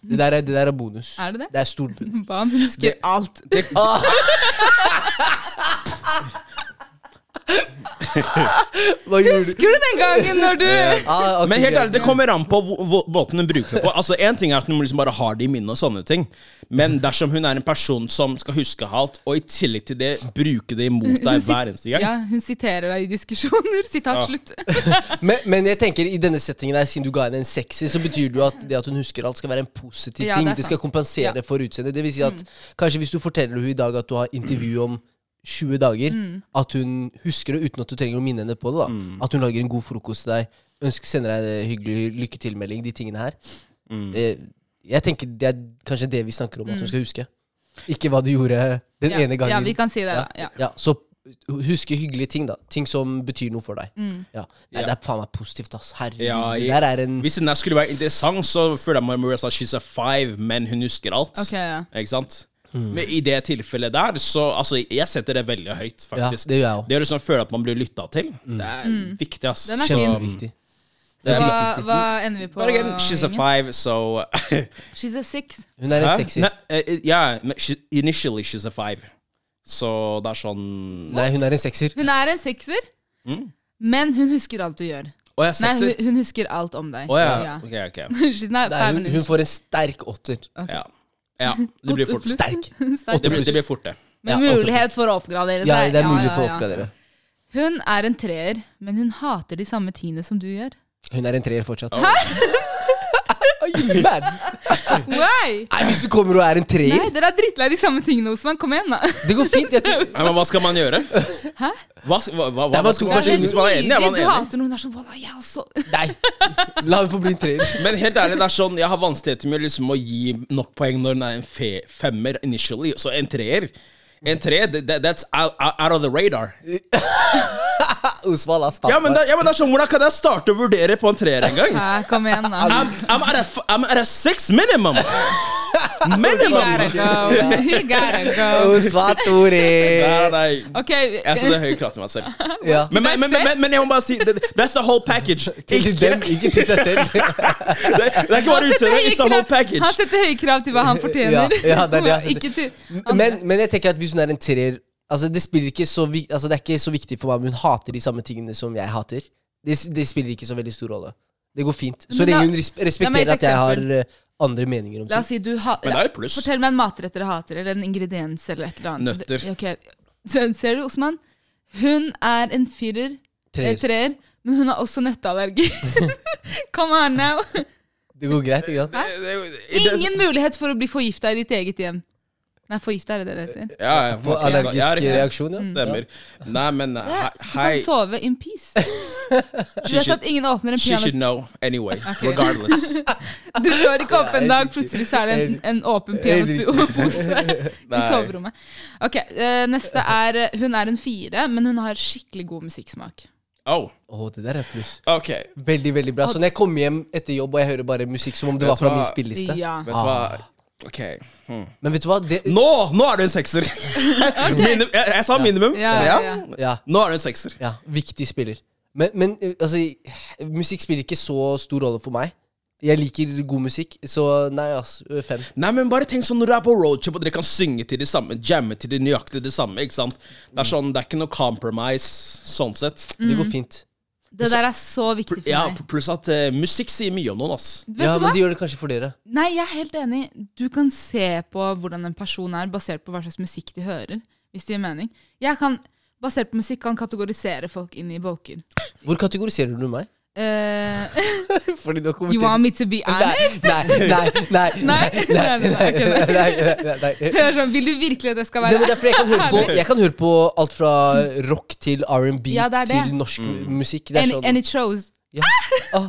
[SPEAKER 1] Det, der er, det der er bonus.
[SPEAKER 3] Er det det?
[SPEAKER 1] Det er stor bonus.
[SPEAKER 3] Hva om hun husker
[SPEAKER 2] Det-
[SPEAKER 3] alt?
[SPEAKER 2] Det,
[SPEAKER 1] Hva gjorde du?
[SPEAKER 3] Husker du den gangen når du
[SPEAKER 2] Eh,
[SPEAKER 1] Ah, ok,
[SPEAKER 2] men helt
[SPEAKER 1] greit.
[SPEAKER 2] ærlig, det kommer an på hvor- hvor- måten hun bruker det på. Altså, En ting er at hun liksom bare har det i minnet, og sånne ting. Men dersom hun er en person som skal huske alt, og i tillegg til det bruke det imot deg hver eneste gang
[SPEAKER 3] Ja, hun siterer deg i diskusjoner. Sitat slutt.
[SPEAKER 1] men, men jeg tenker i denne settingen her, siden du ga henne en sexy, så betyr det jo at det at hun husker alt, skal være en positiv
[SPEAKER 3] Ja,
[SPEAKER 1] ting.
[SPEAKER 3] det er
[SPEAKER 1] Det, skal
[SPEAKER 3] sant.
[SPEAKER 1] kompensere
[SPEAKER 3] Ja. Mm.
[SPEAKER 1] for utseendet. Det vil si at kanskje hvis du forteller henne i dag at du har intervju om 20 dager,
[SPEAKER 3] Mm.
[SPEAKER 1] at hun husker det uten at du trenger å minne henne på det. da At hun lager en god frokost til deg, ønsker, sender deg en hyggelig lykke til-melding, de tingene her. Eh, Jeg tenker Det er kanskje det vi snakker om at hun skal huske. Ikke hva du gjorde den
[SPEAKER 3] Mm. Ja,
[SPEAKER 1] ene gangen.
[SPEAKER 3] ja, vi kan si det. da. Ja.
[SPEAKER 1] Ja, så huske hyggelige ting, da. Ting som betyr noe for deg.
[SPEAKER 3] Mm.
[SPEAKER 1] Ja. Nei,
[SPEAKER 2] Ja.
[SPEAKER 1] Det er faen meg positivt, ass. Herregud.
[SPEAKER 2] Ja,
[SPEAKER 1] det
[SPEAKER 2] jeg-
[SPEAKER 1] der er en
[SPEAKER 2] Hvis den der skulle være interessant, så føler jeg meg Maria sa she's a five, men hun husker alt.
[SPEAKER 3] Ok, ja.
[SPEAKER 2] Ikke sant?
[SPEAKER 1] Mm.
[SPEAKER 2] Men i det tilfellet der, så altså, jeg setter det veldig høyt,
[SPEAKER 1] Ja,
[SPEAKER 2] faktisk.
[SPEAKER 1] det gjør jeg Mm. òg.
[SPEAKER 2] det å liksom føle at man blir lytta til, det er viktig, ass.
[SPEAKER 3] Mm. Den er
[SPEAKER 2] Så-
[SPEAKER 3] fin.
[SPEAKER 1] Kjempeviktig. Det er
[SPEAKER 3] hva,
[SPEAKER 1] litt viktig.
[SPEAKER 3] hva ender vi på?
[SPEAKER 2] But again, she's a
[SPEAKER 3] Ingen?
[SPEAKER 2] five, so
[SPEAKER 3] She's a six.
[SPEAKER 1] Hun er en
[SPEAKER 2] Hæ?
[SPEAKER 1] sexy.
[SPEAKER 2] Nei, eh, ja, men she, initially she's a five. Så det er sånn
[SPEAKER 1] Nei, hun er en sekser.
[SPEAKER 3] Hun er en sekser,
[SPEAKER 2] Mm.
[SPEAKER 3] men hun husker alt du gjør.
[SPEAKER 2] Å ja,
[SPEAKER 3] Nei, hun,
[SPEAKER 2] sekser?
[SPEAKER 3] hun husker alt om deg.
[SPEAKER 2] Å ja. Ok, ok.
[SPEAKER 3] She's not
[SPEAKER 1] Nei,
[SPEAKER 3] five
[SPEAKER 1] hun, hun
[SPEAKER 3] minutes.
[SPEAKER 1] får en sterk åtter.
[SPEAKER 2] Ja. ja. Det blir fort.
[SPEAKER 3] Pluss.
[SPEAKER 1] Sterk.
[SPEAKER 3] Sterk.
[SPEAKER 2] Det blir,
[SPEAKER 1] pluss.
[SPEAKER 2] det blir fort, det.
[SPEAKER 3] Med
[SPEAKER 1] Ja,
[SPEAKER 3] mulighet for å oppgradere
[SPEAKER 1] Ja,
[SPEAKER 3] seg.
[SPEAKER 1] det er
[SPEAKER 3] Ja,
[SPEAKER 1] mulig
[SPEAKER 3] ja,
[SPEAKER 1] for å
[SPEAKER 3] ja.
[SPEAKER 1] oppgradere.
[SPEAKER 3] Hun er en treer, men hun hater de samme tingene som du gjør.
[SPEAKER 1] Hun er en treer fortsatt. Hæ? Are you mad?
[SPEAKER 3] Why?
[SPEAKER 1] Nei, hvis du kommer og er en treer
[SPEAKER 3] Nei, dere er drittlei de samme tingene, Osman. Kom igjen, da.
[SPEAKER 1] Det går fint. Jeg, tenker-
[SPEAKER 2] Nei, men hva skal man gjøre?
[SPEAKER 3] Hæ?
[SPEAKER 2] Hva, sk- hva, hva,
[SPEAKER 1] Det er bare
[SPEAKER 2] hva
[SPEAKER 1] to
[SPEAKER 2] skal man gjøre?
[SPEAKER 1] personer.
[SPEAKER 2] Hvis man er enig, er man
[SPEAKER 3] Du
[SPEAKER 2] enig.
[SPEAKER 3] hater noen der som Walla, jeg også.
[SPEAKER 1] nei. La hun få bli en treer.
[SPEAKER 2] Men helt ærlig, det er sånn, jeg har vanskeligheter med liksom å gi nok poeng når den er en fe femmer initially, så en treer En treer, det- det- that's out, out out of the radar.
[SPEAKER 1] Osvald er stappet.
[SPEAKER 2] Ja men, da, ja, men det er sånn, hvordan kan jeg starte å vurdere på en treer en gang?
[SPEAKER 3] Hæ, kom igjen, da.
[SPEAKER 2] I'm, I'm, at a, f- I'm at a six minimum!
[SPEAKER 3] You gotta
[SPEAKER 2] Minimum!
[SPEAKER 3] go. You gotta go.
[SPEAKER 1] Osvald Tore.
[SPEAKER 2] Nei, nei.
[SPEAKER 3] Ok,
[SPEAKER 2] Jeg setter høy krav til meg selv.
[SPEAKER 1] Ja.
[SPEAKER 2] Men, men, men, men, men jeg må bare si, that- that's the whole package.
[SPEAKER 1] Til
[SPEAKER 2] Ikke,
[SPEAKER 1] dem, ikke til seg selv.
[SPEAKER 2] det, det er ikke bare
[SPEAKER 3] Han setter
[SPEAKER 2] utseendet,
[SPEAKER 3] høye
[SPEAKER 2] it's the whole
[SPEAKER 3] krav- Han
[SPEAKER 2] package.
[SPEAKER 3] setter høye krav til hva han fortjener.
[SPEAKER 1] Ja, ja, det er det han setter.
[SPEAKER 3] Ikke til
[SPEAKER 1] Men, men jeg tenker at hvis hun er en treer altså det, spiller ikke så, vik- altså det er ikke så viktig for meg om hun hater de samme tingene som jeg hater. Det, s- det spiller ikke så veldig stor rolle. Det går fint. Så
[SPEAKER 3] Men da-
[SPEAKER 1] lenge hun res-
[SPEAKER 3] la meg gi
[SPEAKER 1] respekterer
[SPEAKER 3] et
[SPEAKER 1] at jeg har
[SPEAKER 3] eksempel.
[SPEAKER 1] eh, andre meninger om
[SPEAKER 3] La oss
[SPEAKER 1] ting.
[SPEAKER 3] si du ha,
[SPEAKER 2] Men det er jo pluss.
[SPEAKER 3] Fortell meg en matrett dere hater, eller en ingrediens eller et eller annet.
[SPEAKER 2] Nøtter.
[SPEAKER 3] Så det- ok. Så, ser du, Osman? Hun er en firer, eh,
[SPEAKER 1] Treer.
[SPEAKER 3] treer, men hun har også nøtteallergi. Come on now.
[SPEAKER 1] Det går greit, ikke sant?
[SPEAKER 3] Ingen mulighet for å bli forgifta i ditt eget hjem. Nei, forgifta er det det heter.
[SPEAKER 2] Ja, ja,
[SPEAKER 1] På
[SPEAKER 2] fuck, ja, ja,
[SPEAKER 1] allergisk
[SPEAKER 2] riktig.
[SPEAKER 1] reaksjon, ja.
[SPEAKER 2] Mm. Stemmer. Nei, men he-
[SPEAKER 3] Du
[SPEAKER 2] hei
[SPEAKER 3] kan sove in peace. Du
[SPEAKER 2] She
[SPEAKER 3] vet at
[SPEAKER 2] should,
[SPEAKER 3] ingen åpner en
[SPEAKER 2] she
[SPEAKER 3] piano
[SPEAKER 2] should know anyway. Regardless.
[SPEAKER 3] Du står ikke opp en
[SPEAKER 1] Nei,
[SPEAKER 3] dag, plutselig så er det en, en åpen pianopose i
[SPEAKER 2] Nei.
[SPEAKER 3] soverommet. Ok, eh, Neste er eh, Hun er en fire, men hun har skikkelig god musikksmak.
[SPEAKER 2] Oh,
[SPEAKER 1] Å, det der er pluss.
[SPEAKER 2] ok.
[SPEAKER 1] Veldig, veldig bra. Så når jeg kommer hjem etter jobb og jeg hører bare musikk som om det
[SPEAKER 2] Vet
[SPEAKER 1] var fra
[SPEAKER 2] hva?
[SPEAKER 1] min spilleliste
[SPEAKER 3] Ja.
[SPEAKER 2] Vet du hva? Ok. Hmm.
[SPEAKER 1] Men vet du hva? Det,
[SPEAKER 2] Nå! Nå er du en sekser! Minim, jeg, jeg sa minimum.
[SPEAKER 3] Ja, ja, ja.
[SPEAKER 1] ja,
[SPEAKER 2] Nå er du en sekser.
[SPEAKER 1] ja, viktig spiller. Men, men eh, altså, musikk spiller ikke så stor rolle for meg. Jeg liker god musikk, så nei, ass. ø, Fem.
[SPEAKER 2] Nei, men bare tenk sånn når du er på roadtrip og dere kan synge til de samme, jamme til de nøyaktig de samme. ikke sant? Det er sånn, det er ikke noe compromise sånn sett.
[SPEAKER 1] Det
[SPEAKER 3] Mm.
[SPEAKER 1] går fint.
[SPEAKER 3] Det der er så viktig
[SPEAKER 2] Pl-
[SPEAKER 3] for
[SPEAKER 2] Ja,
[SPEAKER 3] meg.
[SPEAKER 2] Pluss at eh, musikk sier mye om noen, ass.
[SPEAKER 3] Vet
[SPEAKER 1] Ja,
[SPEAKER 3] du
[SPEAKER 1] men
[SPEAKER 3] hva?
[SPEAKER 1] de gjør det kanskje for dere.
[SPEAKER 3] Nei, jeg er helt enig. Du kan se på hvordan en person er, basert på hva slags musikk de hører. Hvis det gir mening. Jeg kan, basert på musikk, kan kategorisere folk inn i bolker.
[SPEAKER 1] Hvor kategoriserer du meg?
[SPEAKER 3] Eh,
[SPEAKER 1] Fordi du har kommet
[SPEAKER 3] you want me to be honest?
[SPEAKER 1] Nei, nei, nei. nei,
[SPEAKER 3] Nei? Nei, nei, nei, ok, nei.
[SPEAKER 1] nei, nei, nei, nei.
[SPEAKER 3] Det er sånn, Vil du virkelig at jeg skal
[SPEAKER 1] Det
[SPEAKER 3] være
[SPEAKER 1] men det er fordi jeg kan høre på Jeg kan høre på alt fra rock til R&B
[SPEAKER 3] Ja, det er det.
[SPEAKER 1] til norsk musikk. Det er
[SPEAKER 3] And,
[SPEAKER 1] sånn
[SPEAKER 3] and it shows.
[SPEAKER 1] Ja. Ah.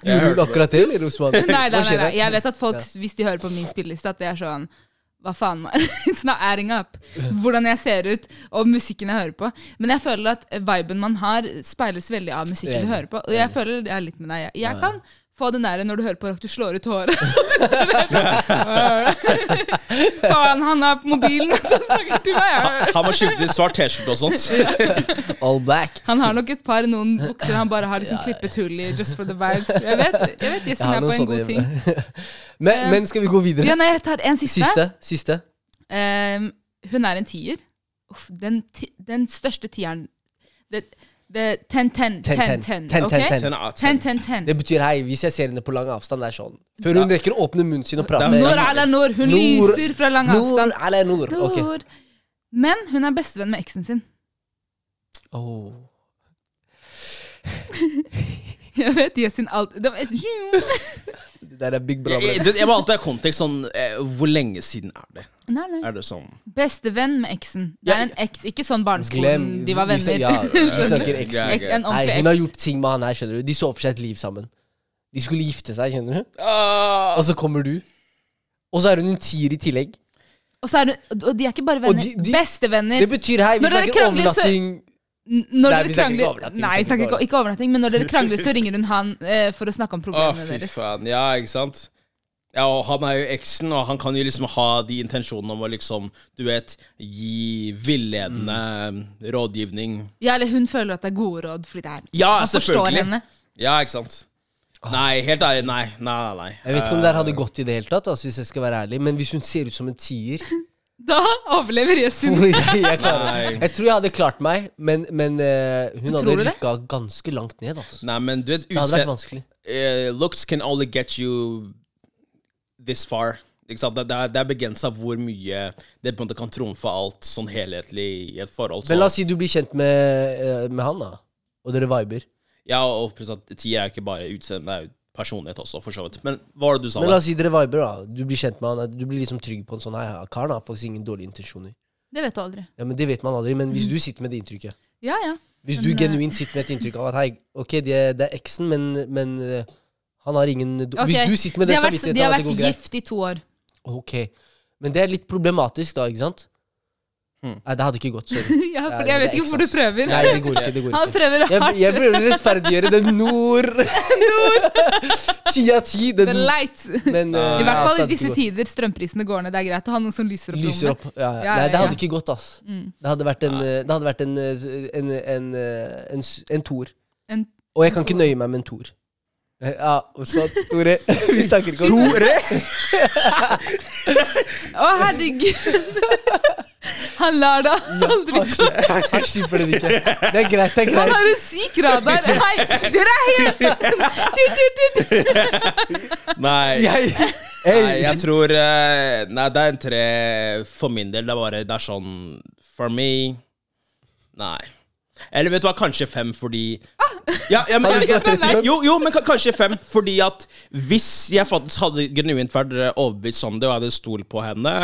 [SPEAKER 1] Gjorde du akkurat det, eller, Osman?
[SPEAKER 3] Nei, nei,
[SPEAKER 1] Hva
[SPEAKER 3] nei,
[SPEAKER 1] skjer
[SPEAKER 3] nei.
[SPEAKER 1] her?
[SPEAKER 3] Jeg vet at folk, hvis de hører på min spilleliste, at det er sånn Hva faen, man? It's not adding up. Hvordan jeg ser ut, og musikken jeg hører på. Men jeg føler at viben man har, speiles veldig av musikken du
[SPEAKER 1] Enig.
[SPEAKER 3] hører på. Og jeg føler det er litt med deg. Jeg, jeg kan få den der når du hører på rock, du slår ut håret. sånn, faen, han er på mobilen og så snakker til meg.
[SPEAKER 2] Han må skifte i svart T-skjorte og sånt.
[SPEAKER 1] All black.
[SPEAKER 3] Han har nok et par noen bukser han bare har liksom klippet hull i, just for the vibes. Jeg vet, jeg vet
[SPEAKER 1] Jeg
[SPEAKER 3] gjesten
[SPEAKER 1] har
[SPEAKER 3] er på
[SPEAKER 1] noen
[SPEAKER 3] en
[SPEAKER 1] sånne
[SPEAKER 3] god ting. Eh,
[SPEAKER 1] hjemme. men, men skal vi gå videre?
[SPEAKER 3] Ja, nei, jeg tar en siste.
[SPEAKER 1] Siste? Siste?
[SPEAKER 3] Ehm, hun er en tier. Uff, den, ti den største tieren det, det, ten, ten,
[SPEAKER 1] Ten,
[SPEAKER 3] ten,
[SPEAKER 1] ten.
[SPEAKER 3] ten,
[SPEAKER 1] Ten,
[SPEAKER 3] ok?
[SPEAKER 1] ten, ten.
[SPEAKER 2] Ten out of
[SPEAKER 3] Ten,
[SPEAKER 2] ten.
[SPEAKER 3] ten, ten.
[SPEAKER 1] Det betyr hei, hvis jeg ser henne på lang avstand, det er sånn. Før hun rekker å åpne munnen sin og prate.
[SPEAKER 2] Det er-
[SPEAKER 3] Nor ala nor. Hun
[SPEAKER 1] Nor-
[SPEAKER 3] lyser fra lang
[SPEAKER 1] Nord
[SPEAKER 3] avstand.
[SPEAKER 1] eller nord? Ok.
[SPEAKER 3] Nor. Men hun er bestevenn med eksen sin.
[SPEAKER 1] Åh.
[SPEAKER 3] Jeg vet Yesin alt det var,
[SPEAKER 1] Det der er big
[SPEAKER 2] Jeg,
[SPEAKER 1] brother.
[SPEAKER 2] jeg, du vet, jeg må alltid ha kontekst sånn eh, Hvor lenge siden er det?
[SPEAKER 3] Nei, nei.
[SPEAKER 2] Er det sånn
[SPEAKER 3] Bestevenn med eksen. Det er en eks, ikke sånn barneskolen, de var
[SPEAKER 1] vi sa-
[SPEAKER 3] venner.
[SPEAKER 1] Ja, vi snakker
[SPEAKER 2] Greit,
[SPEAKER 1] eksen.
[SPEAKER 2] greit.
[SPEAKER 3] Ek, en
[SPEAKER 1] Nei,
[SPEAKER 3] ordentlig
[SPEAKER 1] hun har
[SPEAKER 3] eks.
[SPEAKER 1] gjort ting med han her, skjønner du. De så for seg et liv sammen. De skulle gifte seg, skjønner du.
[SPEAKER 2] Ah,
[SPEAKER 1] Og så kommer du. Og så er hun en tier i tillegg.
[SPEAKER 3] Og, så er hun, og de er ikke bare venner.
[SPEAKER 1] de- de-
[SPEAKER 3] Bestevenner.
[SPEAKER 1] Det betyr hei, vi
[SPEAKER 3] Når dere
[SPEAKER 1] snakker
[SPEAKER 3] krangler, så-
[SPEAKER 1] overnatting.
[SPEAKER 3] N- Når
[SPEAKER 1] Nei,
[SPEAKER 3] dere
[SPEAKER 1] vi snakker ikke
[SPEAKER 3] krangler-
[SPEAKER 1] overnatting, vi
[SPEAKER 3] Nei, vi
[SPEAKER 1] snakker
[SPEAKER 3] snakker
[SPEAKER 1] ikke
[SPEAKER 3] ikke, ikke overnatting, men når dere krangler, så ringer hun han eh, for å snakke om
[SPEAKER 2] Å,
[SPEAKER 3] problemene
[SPEAKER 2] fy
[SPEAKER 3] deres.
[SPEAKER 2] faen. Ja, ikke sant? Ja, og han er jo eksen, og han kan jo liksom ha de intensjonene om å liksom, du vet, gi villedende eh, rådgivning.
[SPEAKER 3] Ja, eller hun føler at det er gode råd, fordi det er
[SPEAKER 2] Ja,
[SPEAKER 3] han forstår
[SPEAKER 2] selvfølgelig.
[SPEAKER 3] henne.
[SPEAKER 2] Ja, ikke sant? Nei, helt ærlig, nei. Nei, nei, Eh, nei.
[SPEAKER 1] Jeg vet ikke om det her hadde gått i det hele tatt, altså, hvis jeg skal være ærlig, men hvis hun ser ut som en tier
[SPEAKER 3] Da overlever Jesu.
[SPEAKER 1] jeg, jeg, klarer,
[SPEAKER 2] Nei.
[SPEAKER 1] jeg tror jeg hadde klart meg, men, men eh, hun hadde
[SPEAKER 3] Tror du det?
[SPEAKER 1] rykka ganske langt ned. Altså.
[SPEAKER 2] Nei, men du vet,
[SPEAKER 1] Det hadde vært
[SPEAKER 2] utse...
[SPEAKER 1] vanskelig.
[SPEAKER 2] eh, looks can only get you this far. Ikke sant? Det, det er, det er begrensa hvor mye det på en måte kan trumfe alt sånn helhetlig i et forhold. Så,
[SPEAKER 1] Men la oss si du blir kjent med, eh, med han, da. Og dere viber.
[SPEAKER 2] ja, og pluss at tier er jo ikke bare utseende, det er jo personlighet også, for så vidt. Men hva var det du sa?
[SPEAKER 1] Men
[SPEAKER 2] da?
[SPEAKER 1] la oss si dere viber, da. Du blir kjent med han. at Du blir liksom trygg på en sånn Hei, ja, karen har faktisk ingen dårlige intensjoner.
[SPEAKER 3] Det vet du aldri.
[SPEAKER 1] Ja, men Det vet man aldri. Men hvis du sitter med det inntrykket
[SPEAKER 3] Ja, ja.
[SPEAKER 1] Hvis du
[SPEAKER 3] Men, eh,
[SPEAKER 1] genuint sitter med et inntrykk av at hei, ok, det, det er eksen, men, men eh, han har ingen do-
[SPEAKER 3] Ok.
[SPEAKER 1] Hvis du sitter med
[SPEAKER 3] De
[SPEAKER 1] det
[SPEAKER 3] har vært, de
[SPEAKER 1] samvittigheten
[SPEAKER 3] har
[SPEAKER 1] av at det
[SPEAKER 3] vært
[SPEAKER 1] går greit
[SPEAKER 3] gift i to år.
[SPEAKER 1] Ok. Men det er litt problematisk, da, ikke sant?
[SPEAKER 2] Hmm.
[SPEAKER 1] Nei, det hadde ikke gått. Sorry. Det
[SPEAKER 3] ja,
[SPEAKER 1] er-
[SPEAKER 3] for jeg
[SPEAKER 1] det
[SPEAKER 3] vet
[SPEAKER 1] er
[SPEAKER 3] ikke hvorfor
[SPEAKER 1] eksen,
[SPEAKER 3] du
[SPEAKER 1] ass.
[SPEAKER 3] prøver.
[SPEAKER 1] Nei, det går ikke. det går
[SPEAKER 3] Han
[SPEAKER 1] ikke.
[SPEAKER 3] prøver
[SPEAKER 1] Jeg,
[SPEAKER 3] hardt.
[SPEAKER 1] jeg prøver å rettferdiggjøre den nord. Ti av ti.
[SPEAKER 3] Det
[SPEAKER 1] Den,
[SPEAKER 3] er leit.
[SPEAKER 1] men, eh,
[SPEAKER 3] I hvert fall
[SPEAKER 1] ja,
[SPEAKER 3] i
[SPEAKER 1] stadig
[SPEAKER 3] disse
[SPEAKER 1] går.
[SPEAKER 3] tider strømprisene går ned. Det er greit å ha noen som lyser opp
[SPEAKER 1] Lyser
[SPEAKER 3] rommet.
[SPEAKER 1] opp. Ja, ja.
[SPEAKER 3] Ja,
[SPEAKER 1] Nei, det
[SPEAKER 3] ja,
[SPEAKER 1] hadde
[SPEAKER 3] ja.
[SPEAKER 1] ikke gått, ass.
[SPEAKER 3] Mm.
[SPEAKER 1] Det hadde vært en, eh, det hadde vært en, eh, en, en, eh, en, s- en toer.
[SPEAKER 3] En-
[SPEAKER 1] Og jeg kan ikke nøye meg med en toer. Eh, Ja, Oslo, Tore. Vi snakker ikke om
[SPEAKER 2] Tore!
[SPEAKER 3] Å, herregud! Han lar det aldri
[SPEAKER 1] Han skipper- Han skipper den ikke. Det er greit, det er
[SPEAKER 3] Han
[SPEAKER 1] greit.
[SPEAKER 3] har en syk radar! Hei, dere er helt
[SPEAKER 2] Nei.
[SPEAKER 1] Jeg,
[SPEAKER 2] Nei,
[SPEAKER 1] hey,
[SPEAKER 2] jeg tror eh, Nei, det er en tre for min del. Det er bare Det er sånn For me Nei. Eller vet du hva, kanskje fem fordi ja, ja, men,
[SPEAKER 1] Hadde Ah. du
[SPEAKER 2] ja,
[SPEAKER 1] fått
[SPEAKER 2] ja,
[SPEAKER 1] 35?
[SPEAKER 2] jo, jo, men ka- kanskje fem. Fordi at hvis jeg faktisk hadde genuint vært eh, overbevist om det, og jeg hadde stolt på henne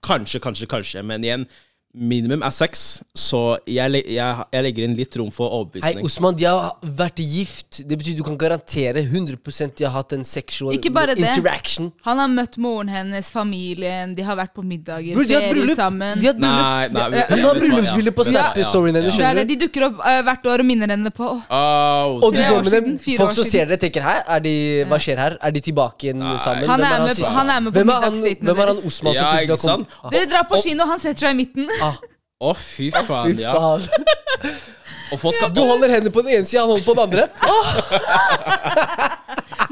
[SPEAKER 2] Kanskje, kanskje, kanskje. Men igjen, minimum er seks. Så jeg, le- jeg, jeg legger inn litt rom for
[SPEAKER 1] Hei,
[SPEAKER 2] overbevisning.
[SPEAKER 1] Osman, de har vært gift. Det betyr du kan garantere 100 de har hatt en sexual
[SPEAKER 3] Ikke bare det.
[SPEAKER 1] interaction.
[SPEAKER 3] Han har møtt moren hennes, familien, de har vært på middager,
[SPEAKER 1] Bro, de har hatt
[SPEAKER 3] ferie
[SPEAKER 1] bryllup.
[SPEAKER 3] sammen.
[SPEAKER 1] De har hatt bryllup.
[SPEAKER 2] Nei, nei,
[SPEAKER 1] Hun har bryllupsbilde på
[SPEAKER 2] Ja, ja,
[SPEAKER 1] Snap-storyen hennes,
[SPEAKER 3] Det er det
[SPEAKER 1] skjønner du.
[SPEAKER 3] de dukker opp eh, hvert år og minner henne på. Åh,
[SPEAKER 2] Au,
[SPEAKER 1] Og du
[SPEAKER 3] Tre
[SPEAKER 1] går
[SPEAKER 3] år
[SPEAKER 1] med dem.
[SPEAKER 3] siden, fire
[SPEAKER 1] Folk
[SPEAKER 3] år
[SPEAKER 1] som
[SPEAKER 3] siden.
[SPEAKER 1] ser dere, tenker her, er de, hva skjer her? Er de tilbake igjen sammen?
[SPEAKER 3] Han
[SPEAKER 1] Hvem
[SPEAKER 3] er med på-
[SPEAKER 1] siste?
[SPEAKER 3] han er med på
[SPEAKER 1] Hvem er han,
[SPEAKER 3] middagsdatene
[SPEAKER 1] hvem er han
[SPEAKER 3] deres.
[SPEAKER 1] Osman som
[SPEAKER 2] Ja,
[SPEAKER 1] plutselig har
[SPEAKER 2] ikke
[SPEAKER 1] kommet?
[SPEAKER 2] sant?
[SPEAKER 1] Ah,
[SPEAKER 3] Dere drar på
[SPEAKER 2] og-
[SPEAKER 3] kino, han setter seg i midten.
[SPEAKER 1] ah,
[SPEAKER 2] Å, fy
[SPEAKER 1] fy
[SPEAKER 2] faen, ja.
[SPEAKER 1] faen.
[SPEAKER 2] Og folk skal
[SPEAKER 1] Du holder hendene på den ene sida, han holder på den andre.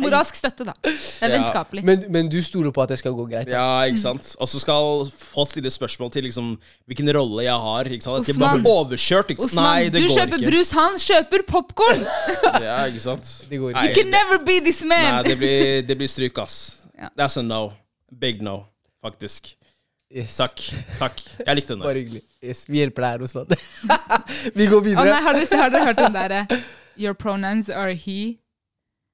[SPEAKER 3] Moralsk støtte, da. Det er
[SPEAKER 2] Ja.
[SPEAKER 3] vennskapelig.
[SPEAKER 1] Men, men du stoler på at det skal gå greit?
[SPEAKER 2] Ja, ikke sant? Og så skal folk stille spørsmål til liksom, hvilken rolle jeg har. Ikke sant? At jeg bare
[SPEAKER 3] Osman.
[SPEAKER 2] blir overkjørt. Ikke sant?
[SPEAKER 3] Osman,
[SPEAKER 2] Nei, det
[SPEAKER 3] du
[SPEAKER 2] går
[SPEAKER 3] kjøper
[SPEAKER 2] ikke.
[SPEAKER 3] brus, han kjøper popkorn!
[SPEAKER 2] Ja, ikke sant?
[SPEAKER 1] Det går ikke.
[SPEAKER 2] Nei,
[SPEAKER 3] You can never be this
[SPEAKER 2] Nei,
[SPEAKER 3] man!
[SPEAKER 2] det blir, det blir stryk, ass.
[SPEAKER 3] Ja.
[SPEAKER 2] That's a no. Big no, faktisk.
[SPEAKER 1] Yes.
[SPEAKER 2] Takk. Takk. Jeg likte den.
[SPEAKER 1] Bare hyggelig. Yes, vi hjelper deg her, Osman. vi går
[SPEAKER 3] Å nei,
[SPEAKER 1] videre.
[SPEAKER 3] har dere, har dere hørt den derre Your pronouns are he,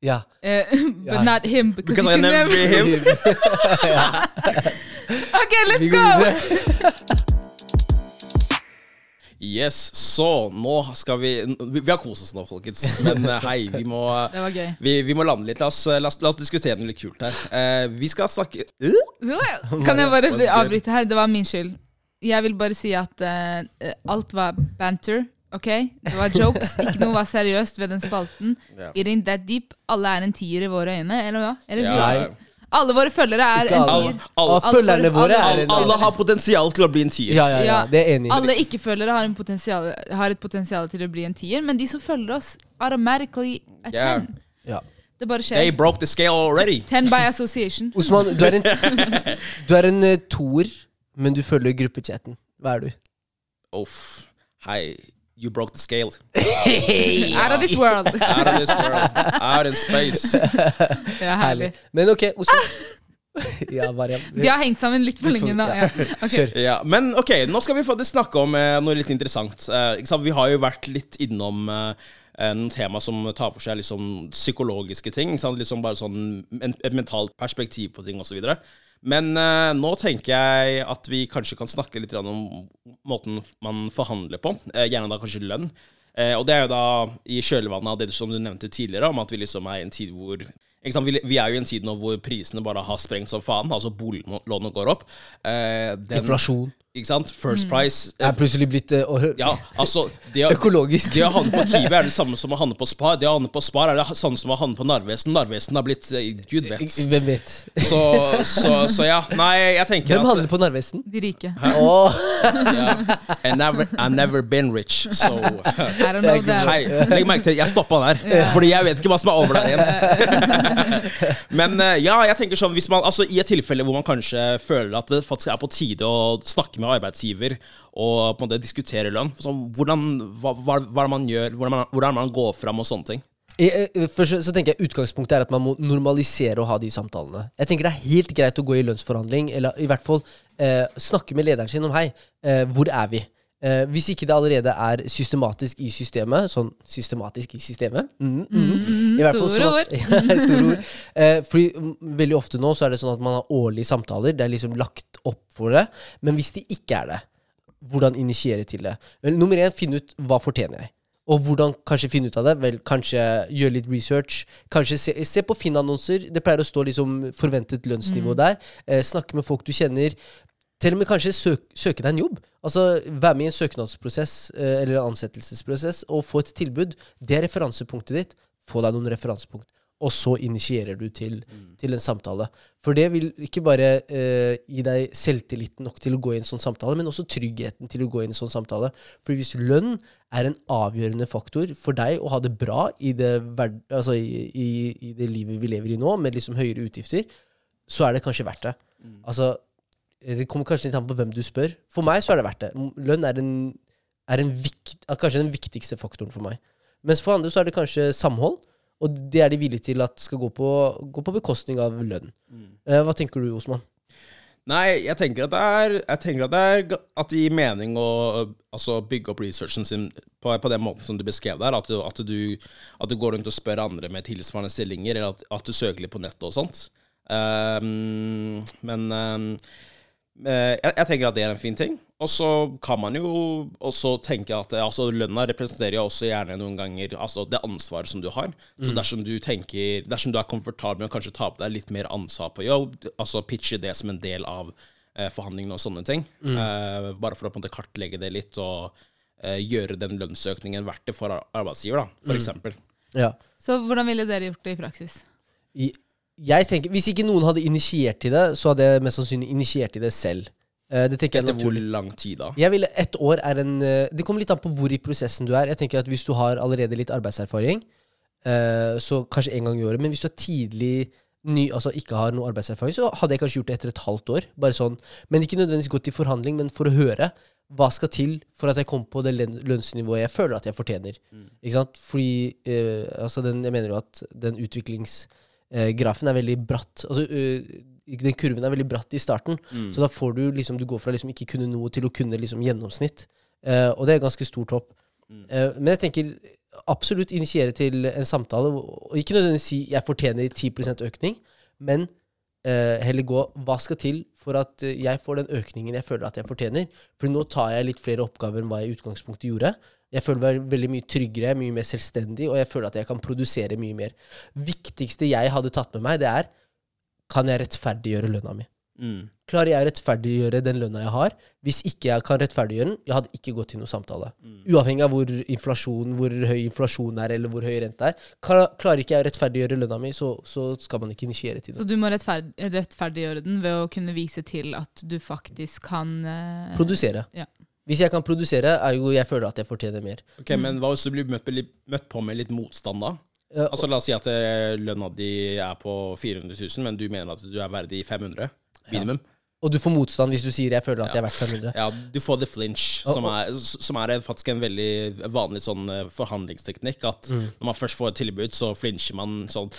[SPEAKER 1] Ja.
[SPEAKER 3] eh, but
[SPEAKER 1] Ja.
[SPEAKER 3] not him. Because,
[SPEAKER 2] Because
[SPEAKER 3] you
[SPEAKER 2] I
[SPEAKER 3] can
[SPEAKER 2] never
[SPEAKER 3] never...
[SPEAKER 2] be him.
[SPEAKER 3] Ok, let's
[SPEAKER 1] Vi
[SPEAKER 3] go!
[SPEAKER 1] går videre.
[SPEAKER 2] Yes, så nå skal vi Vi, vi har kost oss nå, folkens. Men eh, hei, vi må
[SPEAKER 3] Det var gøy.
[SPEAKER 2] vi, vi må lande litt. La oss, eh, la oss, la oss diskutere noe litt kult her. Eh, vi skal snakke Øh?
[SPEAKER 3] Kan jeg bare
[SPEAKER 2] What's good?
[SPEAKER 3] avbryte her? Det var min skyld. Jeg vil bare si at eh, eh, alt var banter. Ok? Det var jokes. Ikke noe var seriøst ved den spalten.
[SPEAKER 2] Ja.
[SPEAKER 3] It ain't that deep. Alle er en tier i våre øyne, eller hva? Eller
[SPEAKER 2] Ja.
[SPEAKER 3] vi- Alle våre følgere er
[SPEAKER 1] Ikke
[SPEAKER 3] en
[SPEAKER 1] alle.
[SPEAKER 3] tier.
[SPEAKER 2] Alle-
[SPEAKER 1] Og følgerne våre er
[SPEAKER 2] Alle,
[SPEAKER 1] en
[SPEAKER 2] alle har potensial til å bli en tier.
[SPEAKER 1] Ja, ja, ja. Det er jeg enig. i.
[SPEAKER 3] Alle ikke-følgere har, en potensial- har et potensial til å bli en tier, men de som følger oss, automatically a
[SPEAKER 2] Yeah.
[SPEAKER 3] ten.
[SPEAKER 1] Ja.
[SPEAKER 3] Det bare
[SPEAKER 2] They
[SPEAKER 3] skjer.
[SPEAKER 2] broke the scale already.
[SPEAKER 3] Ten by association.
[SPEAKER 1] Osman, du er en, du er en eh, toer, men du følger gruppechatten. Hva er du?
[SPEAKER 2] Uff. Hei, you broke the scale.
[SPEAKER 3] Out of this world.
[SPEAKER 2] Out of this world. Out in space.
[SPEAKER 3] Ja, herlig.
[SPEAKER 1] Men ok, Osman. ja, Mariam.
[SPEAKER 3] Vi har hengt sammen litt for
[SPEAKER 1] Litt for-
[SPEAKER 3] lenge nå.
[SPEAKER 1] ja.
[SPEAKER 3] Ja. Ok.
[SPEAKER 1] Kjør.
[SPEAKER 2] Ja, men ok, nå skal vi faktisk snakke om eh, noe litt interessant. Eh, ikke sant? Vi har jo vært litt innom eh, eh, noen tema som tar for seg liksom, psykologiske ting. Ikke sant? Liksom bare sånn men, et mentalt perspektiv på ting osv. Men eh, nå tenker jeg at vi kanskje kan snakke litt grann om måten man forhandler på. Eh, gjerne da kanskje lønn. Eh, og det er jo da i kjølvannet av det som du nevnte tidligere, om at vi liksom er i en tid hvor ikke sant? Vi, vi er jo i en tid nå hvor prisene bare har sprengt som faen. Altså boliglånet går opp. Eh, den-
[SPEAKER 1] Inflasjon.
[SPEAKER 2] Ikke sant?
[SPEAKER 1] Mm.
[SPEAKER 2] First Price.
[SPEAKER 1] Jeg er plutselig blitt eh, å-
[SPEAKER 2] Ja, altså det å,
[SPEAKER 1] økologisk.
[SPEAKER 2] det å handle på Kiwi er det samme som å handle på Spar. Det å handle på Spar er det samme som å handle på Narvesen. Narvesen har blitt eh, Gud vet.
[SPEAKER 1] Hvem vet?
[SPEAKER 2] Så, så, så ja. Nei, jeg tenker
[SPEAKER 1] Hvem
[SPEAKER 2] at
[SPEAKER 1] handler på Narvesen?
[SPEAKER 3] De rike.
[SPEAKER 1] Åh,
[SPEAKER 2] ja. I never, I never been rich, so
[SPEAKER 3] I don't know
[SPEAKER 1] Det er
[SPEAKER 3] that.
[SPEAKER 2] Hei, legg merke til, jeg stoppa der, Fordi jeg vet ikke hva som er over der igjen. Men eh, ja, jeg tenker sånn, hvis man, altså i et tilfelle hvor man kanskje føler at det faktisk er på tide å snakke med arbeidsgiver og på en måte diskutere lønn, sånn, hvordan, hva, hva, hva er det man gjør, hvordan, man, hvordan man går fram og sånne ting.
[SPEAKER 1] I- eh, Først så- så tenker jeg Utgangspunktet er at man må normalisere å ha de samtalene. Jeg tenker Det er helt greit å gå i lønnsforhandling, eller i hvert fall eh, snakke med lederen sin om hei, eh, hvor er vi? Eh, hvis ikke det allerede er systematisk i systemet, sånn systematisk i systemet mm, mm, i hvert fall sånn
[SPEAKER 3] store
[SPEAKER 1] at- Ja, store ord. Eh, fordi mm, veldig ofte nå så er det sånn at man har årlige samtaler. Det er liksom lagt opp for det. Men hvis de ikke er det, hvordan initiere til det? Vel, nummer én, finne ut hva fortjener jeg. Og hvordan kanskje finne ut av det? Vel, kanskje gjøre litt research. Kanskje se, se på Finn-annonser. Det pleier å stå liksom forventet lønnsnivå der. Eh, snakke med folk du kjenner. Til og med kanskje søk, søke deg en jobb. Altså Være med i en søknadsprosess eh, eller en ansettelsesprosess og få et tilbud. Det er referansepunktet ditt. Få deg noen referansepunkt. Og så initierer du til, til en samtale. For det vil ikke bare eh, gi deg selvtilliten nok til å gå i en sånn samtale, men også tryggheten til å gå i en sånn samtale. For hvis lønn er en avgjørende faktor for deg å ha det bra i det, verd altså i, i, i det livet vi lever i nå, med liksom høyere utgifter, så er det kanskje verdt det. Altså, det kommer kanskje litt an på hvem du spør. For meg så er det verdt det. Lønn er, en, er en vikt, er kanskje den viktigste faktoren for meg. Mens for andre så er det kanskje samhold, og det er de villige til at skal gå på, gå på bekostning av lønn.
[SPEAKER 2] Mm.
[SPEAKER 1] Eh, hva tenker du, Osman?
[SPEAKER 2] Nei, jeg tenker at det er, jeg tenker at det, er, ga- at det gir mening å altså, bygge opp researchen sin på, på den måten som du beskrev der. At du, at, du, at du går rundt og spør andre med tilsvarende stillinger, eller at, at du søker litt på nettet og sånt. Ehm, men ehm, eh, jeg, jeg tenker at det er en fin ting. Og så kan man jo også tenke at eh, altså, lønna representerer jo også gjerne noen ganger altså, det ansvaret som du har.
[SPEAKER 1] Mm.
[SPEAKER 2] Så dersom du tenker, dersom du er komfortabel med å kanskje ta på deg litt mer ansvar på jobb, altså pitche det som en del av eh, forhandlingene og sånne ting,
[SPEAKER 1] Mm.
[SPEAKER 2] eh, bare for å på en måte kartlegge det litt og eh, gjøre den lønnsøkningen verdt det for ar- arbeidsgiver, da,
[SPEAKER 1] Mm.
[SPEAKER 2] for eksempel.
[SPEAKER 1] Ja.
[SPEAKER 3] Så hvordan ville dere gjort det i praksis?
[SPEAKER 1] I- Jeg tenker, Hvis ikke noen hadde initiert til det, så hadde jeg mest sannsynlig initiert til det selv. Eh, det tenker jeg er
[SPEAKER 2] Etter hvor
[SPEAKER 1] naturlig.
[SPEAKER 2] lang tid da?
[SPEAKER 1] Jeg ville ett år er en eh, Det kommer litt an på hvor i prosessen du er. Jeg tenker at Hvis du har allerede litt arbeidserfaring, eh, så kanskje en gang i året. Men hvis du er tidlig ny, altså ikke har noe arbeidserfaring, så hadde jeg kanskje gjort det etter et halvt år. Bare sånn. Men ikke nødvendigvis gått i forhandling, men for å høre. Hva skal til for at jeg kommer på det lønn- lønnsnivået jeg føler at jeg fortjener? Ikke sant? Fordi eh, altså den, jeg mener jo at den utviklingsgrafen er veldig bratt. Altså, eh, den kurven er veldig bratt i starten.
[SPEAKER 2] Mm.
[SPEAKER 1] Så da får du liksom, du går fra liksom ikke kunne noe til å kunne liksom gjennomsnitt. Eh, og det er ganske stort hopp. Eh, men jeg tenker absolutt initiere til en samtale, og og ikke nødvendigvis si 'jeg fortjener 10 økning', men eh, heller gå 'hva skal til for at eh, jeg får den økningen jeg føler at jeg fortjener'? For nå tar jeg litt flere oppgaver enn hva jeg i utgangspunktet gjorde. Jeg føler meg veldig mye tryggere, mye mer selvstendig, og jeg føler at jeg kan produsere mye mer. viktigste jeg hadde tatt med meg, det er kan jeg rettferdiggjøre lønna mi?
[SPEAKER 2] Mm.
[SPEAKER 1] Klarer jeg å rettferdiggjøre den lønna jeg har? Hvis ikke jeg kan rettferdiggjøre den, jeg hadde ikke gått til noen samtale.
[SPEAKER 2] Mm.
[SPEAKER 1] Uavhengig av hvor, inflasjon, hvor høy inflasjon er, eller hvor høy rente er. Kla- Klarer ikke jeg å rettferdiggjøre lønna mi, så, så skal man ikke initiere til
[SPEAKER 3] Så
[SPEAKER 1] det.
[SPEAKER 3] du må rettferd rettferdiggjøre den ved å kunne vise til at du faktisk kan eh,
[SPEAKER 1] Produsere.
[SPEAKER 3] Ja.
[SPEAKER 1] Hvis jeg kan produsere, ergo jeg føler at jeg fortjener mer.
[SPEAKER 2] Ok, men hva hvis du blir møtt, med litt- møtt på med litt motstand da?
[SPEAKER 1] Eh,
[SPEAKER 2] Altså La oss si at eh, lønna di er på 400 000, men du mener at du er verdig 500 minimum.
[SPEAKER 1] Og du får motstand hvis du sier 'jeg føler at jeg er verdt 500'.
[SPEAKER 2] Ja, Du får the flinch, som er, som er faktisk en veldig vanlig sånn eh, forhandlingsteknikk. At
[SPEAKER 1] Mm.
[SPEAKER 2] når man først får et tilbud, så flincher man sånn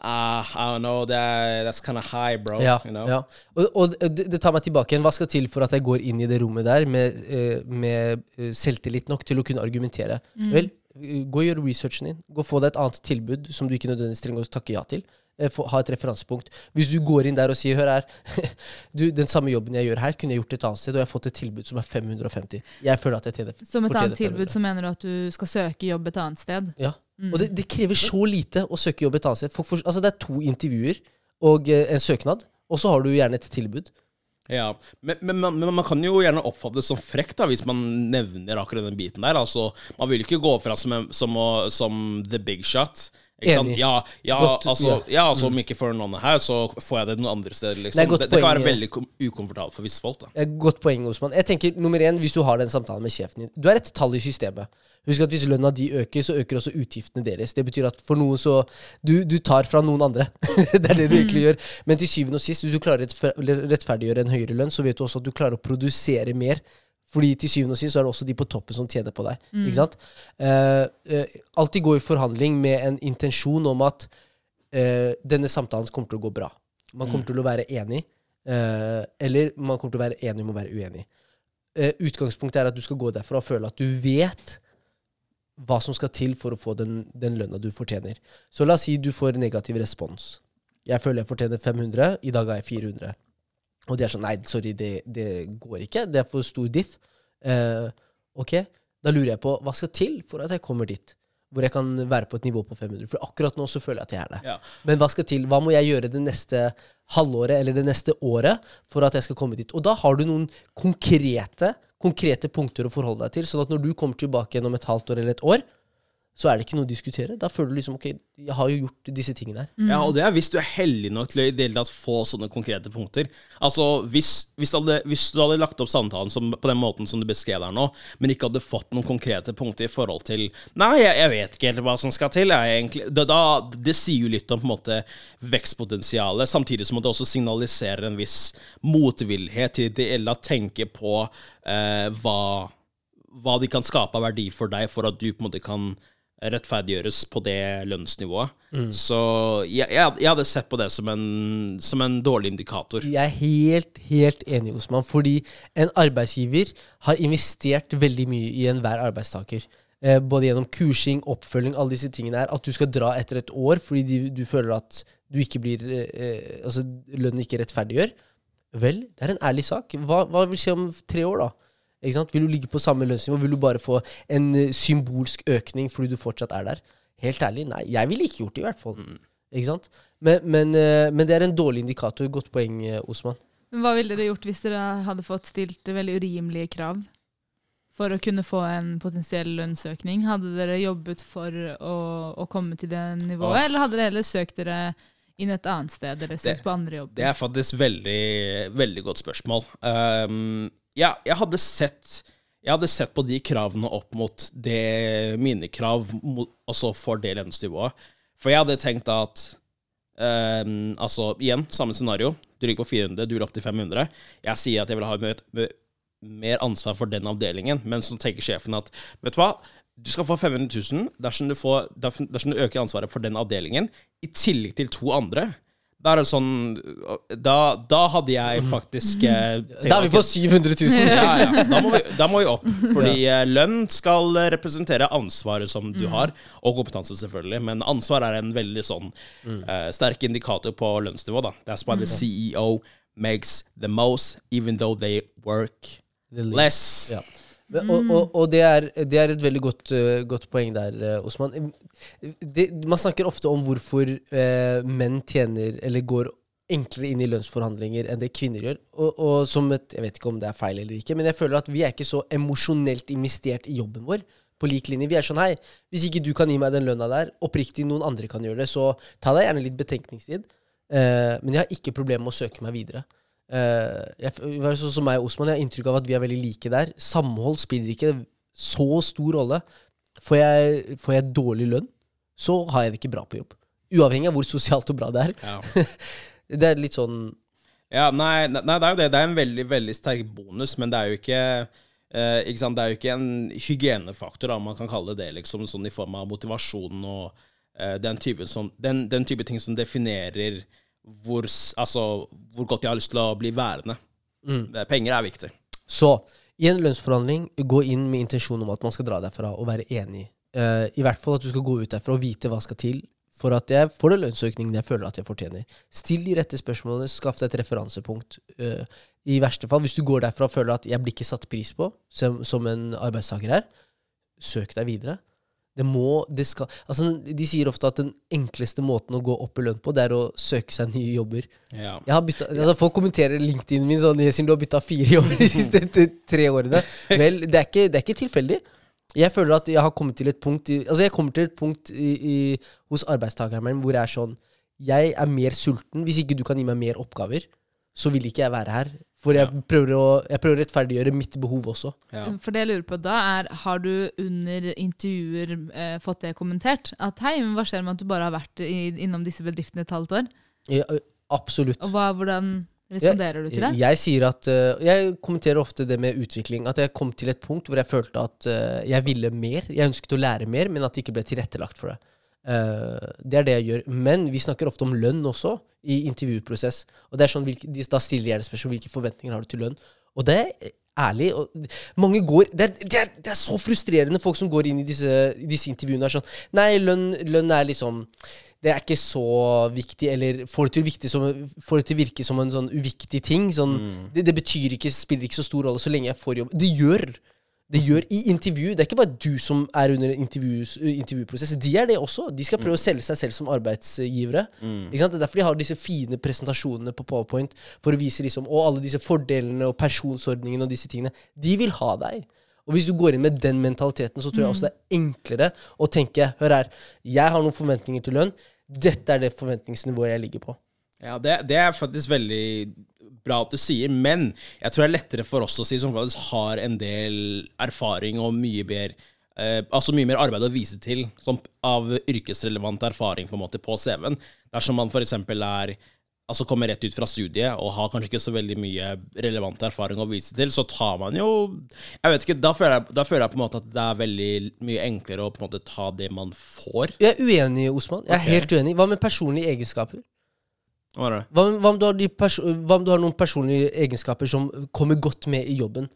[SPEAKER 2] ah, I don't know, that, that's kind of high, bro.
[SPEAKER 1] Ja,
[SPEAKER 2] you know?
[SPEAKER 1] ja. Og, og det, det tar meg tilbake igjen. Hva skal til for at jeg går inn i det rommet der med, eh, med eh, selvtillit nok til å kunne argumentere?
[SPEAKER 3] Mm.
[SPEAKER 1] Vel, eh, gå og gjør researchen din. Gå og Få deg et annet tilbud som du ikke nødvendigvis trenger å takke ja til. Eh, Få, ha et referansepunkt. Hvis du går inn der og sier Hør her, du, den samme jobben jeg gjør her, kunne jeg gjort et annet sted, og jeg har fått et tilbud som er 550. Jeg føler at jeg tjener
[SPEAKER 3] Som Mm. et
[SPEAKER 1] fortjener
[SPEAKER 3] annet tilbud
[SPEAKER 1] 500.
[SPEAKER 3] så mener du at du skal søke jobb et annet sted?
[SPEAKER 1] Ja. Og det, det krever så lite å søke jobb et annet sted. Folk får, altså det er to intervjuer og eh, en søknad, og så har du gjerne et tilbud.
[SPEAKER 2] Ja, men, men, man- men man kan jo gjerne oppfattes som frekk da, hvis man nevner akkurat den biten der. Altså, man vil ikke gå fra som, en- som, å- som the big shot. Ikke sant?
[SPEAKER 1] Enig.
[SPEAKER 2] Ja, ja,
[SPEAKER 1] Godt- Mm.
[SPEAKER 2] altså, ja, altså om ikke for noen her, så får jeg det noen andre steder. Liksom.
[SPEAKER 1] Det er godt
[SPEAKER 2] det, det kan
[SPEAKER 1] poeng,
[SPEAKER 2] være
[SPEAKER 1] ja.
[SPEAKER 2] veldig kom- ukomfortabelt for visse folk. da.
[SPEAKER 1] Eh, Godt poeng, Osman. Jeg tenker, nummer én, Hvis du har den samtalen med sjefen din Du er et tall i systemet. Husk at hvis lønna di øker, så øker også utgiftene deres. Det betyr at for noen så Du, du tar fra noen andre. det er det du egentlig gjør. Men til syvende og sist, hvis du klarer å rettfer- rettferdiggjøre en høyere lønn, så vet du også at du klarer å produsere mer. Fordi til syvende og sist så er det også de på toppen som tjener på deg. Ikke sant? Eh, eh, alltid gå i forhandling med en intensjon om at eh, denne samtalen kommer til å gå bra. Man kommer til å være enig, eh, eller man kommer til å være enig om å være uenig. Eh, utgangspunktet er at du skal gå derfra og føle at du vet hva som skal til for å få den, den lønna du fortjener. Så la oss si du får negativ respons. Jeg føler jeg fortjener 500, i dag har jeg 400. Og de er sånn Nei, sorry, det, det går ikke. Det er for stor diff. Eh, ok, da lurer jeg på hva skal til for at jeg kommer dit? Hvor jeg kan være på et nivå på 500. For akkurat nå så føler jeg at jeg er det.
[SPEAKER 2] Ja.
[SPEAKER 1] Men hva skal til? Hva må jeg gjøre det neste halvåret eller det neste året for at jeg skal komme dit? Og da har du noen konkrete, konkrete punkter å forholde deg til, sånn at når du kommer tilbake igjen om et halvt år eller et år, så er det ikke noe å diskutere. Da føler du liksom OK, jeg har jo gjort disse tingene her.
[SPEAKER 2] Ja, og det er hvis du er heldig nok til å i det hele tatt få sånne konkrete punkter. Altså, hvis, hvis, du hadde, hvis du hadde lagt opp samtalen som, på den måten som du beskrev der nå, men ikke hadde fått noen konkrete punkter i forhold til Nei, jeg, jeg vet ikke helt hva som skal til. Jeg, egentlig, da, da, det sier jo litt om på en måte vekstpotensialet, samtidig som det også signaliserer en viss motvillighet til i det hele tatt tenke på eh, hva hva de kan skape av verdi for deg, for at du på en måte kan rettferdiggjøres på det lønnsnivået. Så jeg, jeg, jeg hadde sett på det som en, som en dårlig indikator.
[SPEAKER 1] Jeg er helt, helt enig, Osman. Fordi en arbeidsgiver har investert veldig mye i enhver arbeidstaker. Eh, både gjennom kursing, oppfølging, alle disse tingene her. At du skal dra etter et år fordi de, du føler at du ikke blir eh, eh, Altså, lønnen ikke rettferdiggjør. Vel, det er en ærlig sak. Hva, hva vil skje om tre år, da? Ikke sant? Vil du ligge på samme lønnsnivå? Vil du bare få en eh, symbolsk økning fordi du fortsatt er der? Helt ærlig, nei. Jeg ville ikke gjort det, i hvert fall. Ikke sant? Men, men, eh, men det er en dårlig indikator. Godt poeng, eh, Osman.
[SPEAKER 3] Men hva ville dere gjort hvis dere hadde fått stilt veldig urimelige krav for å kunne få en potensiell lønnsøkning? Hadde dere jobbet for å, å komme til det nivået,
[SPEAKER 2] Åh.
[SPEAKER 3] eller hadde dere heller søkt dere inn et annet sted, eller søkt
[SPEAKER 2] Det-
[SPEAKER 3] på andre jobber?
[SPEAKER 2] Det er faktisk veldig, veldig godt spørsmål. Um, ja, jeg hadde sett jeg hadde sett på de kravene opp mot det mine krav, mot- altså for det lønnsnivået. For jeg hadde tenkt at um, Altså, igjen, samme scenario. Du ligger på 400, du vil opp til 500. Jeg sier at jeg vil ha mer, mer- mer ansvar for den avdelingen, men så tenker sjefen at Vet du hva? Du skal få 500 000 dersom du, får, dersom, dersom du øker ansvaret for den avdelingen, i tillegg til to andre. Da er det sånn Da, da hadde jeg faktisk eh, tenkt,
[SPEAKER 1] Da er vi på 700 000.
[SPEAKER 2] ja, ja. Da, må vi, da må vi opp. Fordi eh, lønn skal eh, representere ansvaret som
[SPEAKER 1] Mm.
[SPEAKER 2] du har, og kompetanse, selvfølgelig. Men ansvar er en veldig sånn
[SPEAKER 1] Mm.
[SPEAKER 2] eh, sterk indikator på lønnsnivå. da. That's why the CEO makes the most, even though they work
[SPEAKER 1] The least.
[SPEAKER 2] less.
[SPEAKER 1] Ja. Men, og og, og det, er, det er et veldig godt, eh, godt poeng der, eh, Osman. Det, man snakker ofte om hvorfor eh, menn tjener eller går enklere inn i lønnsforhandlinger enn det kvinner gjør. Og, og som et, Jeg vet ikke om det er feil eller ikke, men jeg føler at vi er ikke så emosjonelt investert i jobben vår. På lik linje. Vi er sånn hei, hvis ikke du kan gi meg den lønna der, oppriktig noen andre kan gjøre det, så ta deg gjerne litt betenkningstid. Eh, men jeg har ikke problemer med å søke meg videre. Eh, jeg, f- det er sånn som meg og Osman, jeg har inntrykk av at vi er veldig like der. Samhold spiller ikke så stor rolle. Får jeg, får jeg dårlig lønn, så har jeg det ikke bra på jobb. Uavhengig av hvor sosialt og bra det er.
[SPEAKER 2] Ja.
[SPEAKER 1] Det er litt sånn
[SPEAKER 2] Ja, nei, ne- nei, det er jo det. Det er en veldig, veldig sterk bonus, men det er jo ikke eh, ikke sant? Det er jo ikke en hygienefaktor, da, om man kan kalle det det, liksom, sånn i form av motivasjon og eh, den, type som, den, den type ting som definerer hvor, s- altså, hvor godt jeg har lyst til å bli værende. Det- Penger er viktig.
[SPEAKER 1] Så i en lønnsforhandling, gå inn med intensjon om at man skal dra derfra og være enig. Eh, I hvert fall at du skal gå ut derfra og vite hva skal til for at jeg får den lønnsøkningen jeg føler at jeg fortjener. Still de rette spørsmålene, skaff deg et referansepunkt. Eh, I verste fall, hvis du går derfra og føler at jeg blir ikke satt pris på som, som en arbeidstaker her, søk deg videre. Det må, det skal, altså, de sier ofte at den enkleste måten å gå opp i lønn på, det er å søke seg nye jobber.
[SPEAKER 2] Ja.
[SPEAKER 1] Jeg har byttet, altså Folk kommenterer LinkedIn min sånn Yasin, du har bytta fire jobber de siste t- tre årene. Vel, det er ikke, det er ikke tilfeldig. Jeg føler at jeg har kommet til et punkt i, Altså jeg kommer til et punkt i, i, hos arbeidstakeren min hvor jeg er sånn Jeg er mer sulten. Hvis ikke du kan gi meg mer oppgaver, så vil ikke jeg være her. For jeg, prøver, å, jeg prøver å rettferdiggjøre mitt behov også.
[SPEAKER 2] Ja.
[SPEAKER 3] Um, For det jeg lurer på da er, har du under intervjuer eh, fått det kommentert? At hei, men hva skjer med at du bare har vært i, innom disse bedriftene et halvt år?
[SPEAKER 1] Jeg, ø, absolutt.
[SPEAKER 3] Og hva, hvordan responderer du til det?
[SPEAKER 1] Jeg, jeg sier at øh, Jeg kommenterer ofte det med utvikling. At jeg kom til et punkt hvor jeg følte at øh, jeg ville mer. Jeg ønsket å lære mer, men at det ikke ble tilrettelagt for det. Eh, det er det jeg gjør. Men vi snakker ofte om lønn også i intervjuprosess. Og det er sånn, hvilke, de, Da stiller jeg det spørsmål hvilke forventninger har du til lønn. Og det er eh, ærlig. Og mange går, det, er, det, er, det er så frustrerende folk som går inn i disse, i disse intervjuene og er sånn Nei, lønn, lønn er liksom det er ikke så viktig, eller får det til å, viktig som, får det til å virke som en sånn uviktig ting. Sånn, det, det betyr ikke, spiller ikke så stor rolle så lenge jeg får jobb. Det gjør det gjør i intervju. Det er ikke bare du som er under en intervjus- intervjuprosess. De er det også. De skal prøve å selge seg selv som arbeidsgivere. Ikke sant? Det er derfor de har disse fine presentasjonene på PowerPoint, for å vise liksom, og alle disse fordelene og pensjonsordningene og disse tingene. De vil ha deg. Og hvis du går inn med den mentaliteten, så tror jeg også det er enklere å tenke Hør her, jeg har noen forventninger til lønn. Dette er det forventningsnivået jeg ligger på.
[SPEAKER 2] Ja, det, det er faktisk veldig bra at du sier, men jeg tror det er lettere for oss å si, som faktisk har en del erfaring og mye mer, eh, altså mye mer arbeid å vise til som, av yrkesrelevant erfaring på, en måte, på CV-en. Dersom man f.eks. er Altså kommer rett ut fra studiet og har kanskje ikke så veldig mye relevant erfaring å vise til, så tar man jo Jeg vet ikke, da føler jeg, da føler jeg på en måte at det er veldig mye enklere å på en måte ta det man får.
[SPEAKER 1] Jeg er uenig, Osman. Jeg er
[SPEAKER 2] Ok.
[SPEAKER 1] helt uenig. Hva med personlige egenskaper?
[SPEAKER 2] Hva er det?
[SPEAKER 1] Hva, om- hva, om du har de pers hva om du har noen personlige egenskaper som kommer godt med i jobben?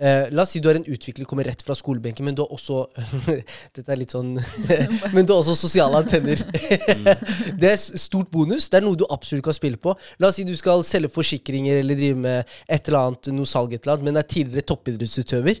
[SPEAKER 1] Eh, la oss si du er en utvikler, kommer rett fra skolebenken, men du har også Dette er litt sånn Men du har også sosiale antenner. det er s- stort bonus. Det er noe du absolutt kan spille på. La oss si du skal selge forsikringer eller drive med et eller annet, noe salg, et eller annet, men er tidligere toppidrettsutøver.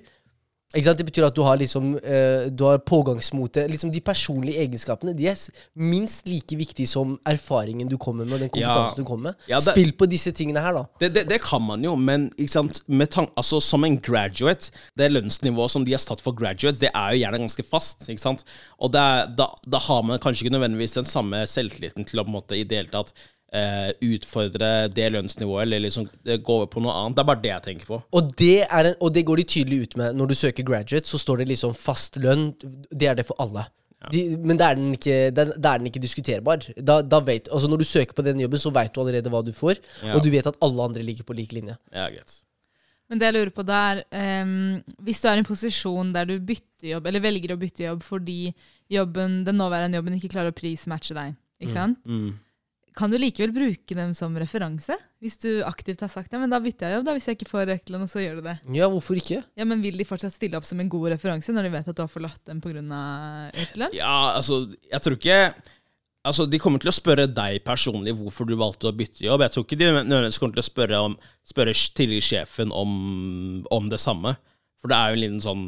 [SPEAKER 1] Ikke sant? Det betyr at du har, liksom, eh, du har pågangsmotet. Liksom de personlige egenskapene de er s- minst like viktige som erfaringen du kommer med. og den kompetansen du kommer med.
[SPEAKER 2] Ja, det-
[SPEAKER 1] Spill på disse tingene her, da.
[SPEAKER 2] Det, det, det kan man jo, men ikke sant? Med tan altså, som en graduate Det lønnsnivået som de har satt for graduates, det er jo gjerne ganske fast. ikke sant? Og det er, da, da har man kanskje ikke nødvendigvis den samme selvtilliten til å på en måte i det hele tatt eh, utfordre det lønnsnivået, eller liksom eh, gå over på noe annet. Det er bare det jeg tenker på.
[SPEAKER 1] Og det, er en, og det går de tydelig ut med. Når du søker graduate, så står det liksom fast lønn. Det er det for alle. De, men da er den ikke, den, da er den ikke diskuterbar. Da, da vet, altså når du søker på den jobben, så vet du allerede hva du får,
[SPEAKER 2] Ja.
[SPEAKER 1] og du vet at alle andre ligger på lik linje.
[SPEAKER 2] Ja, greit.
[SPEAKER 3] Men det jeg lurer på da er, ehm, hvis du er i en posisjon der du bytter jobb, eller velger å bytte jobb fordi jobben, den nåværende jobben ikke klarer å prismatche deg, ikke sant? Kan du likevel bruke dem som referanse? Hvis du aktivt har sagt ja, men da bytter jeg jobb, da hvis jeg ikke får økt lønn, og så gjør du det.
[SPEAKER 1] Ja, hvorfor ikke?
[SPEAKER 3] Ja, men vil de fortsatt stille opp som en god referanse når de vet at du har forlatt dem pga. økt lønn?
[SPEAKER 2] Ja, altså, jeg tror ikke Altså, De kommer til å spørre deg personlig hvorfor du valgte å bytte jobb. Jeg tror ikke de nødvendigvis kommer til å spørre, om, spørre tidligere sjefen om, om det samme. For det er jo en liten sånn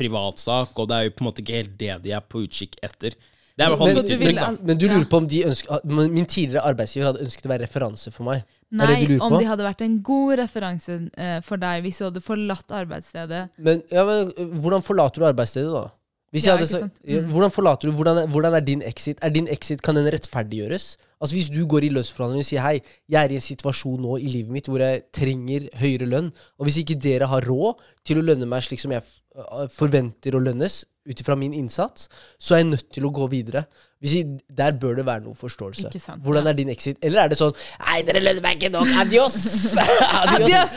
[SPEAKER 2] privatsak, og det er jo på en måte ikke helt det de er på utkikk etter. Det er i hvert fall
[SPEAKER 1] Men,
[SPEAKER 2] mitt
[SPEAKER 3] du vil
[SPEAKER 2] inntrykk, da.
[SPEAKER 3] al-
[SPEAKER 1] men du
[SPEAKER 3] ja.
[SPEAKER 1] lurer på om de ønsker, ah, men min tidligere arbeidsgiver hadde ønsket å være referanse for meg? er det
[SPEAKER 3] Nei,
[SPEAKER 1] du lurer
[SPEAKER 3] om
[SPEAKER 1] på?
[SPEAKER 3] de hadde vært en god referanse eh, for deg hvis du hadde forlatt arbeidsstedet.
[SPEAKER 1] Men, ja, men øh, hvordan forlater du arbeidsstedet, da? Hvis jeg
[SPEAKER 3] Ja,
[SPEAKER 1] hadde,
[SPEAKER 3] ikke
[SPEAKER 1] sagt-
[SPEAKER 3] sant? Mm.
[SPEAKER 1] ja, hvordan forlater du, hvordan er, hvordan er din exit? Er din exit, Kan den rettferdiggjøres? Altså Hvis du går i lønnsforhandling og sier hei, jeg er i en situasjon nå i livet mitt hvor jeg trenger høyere lønn, og hvis ikke dere har råd til å lønne meg slik som jeg f- øh, forventer å lønnes, ut ifra min innsats, så er jeg nødt til å gå videre. Hvis jeg, der bør det være noe forståelse.
[SPEAKER 3] Ikke sant,
[SPEAKER 1] Hvordan
[SPEAKER 3] ja.
[SPEAKER 1] er din exit? Eller er det sånn Nei, dere lønner meg ikke nok! Adios! Adios!
[SPEAKER 3] Adios,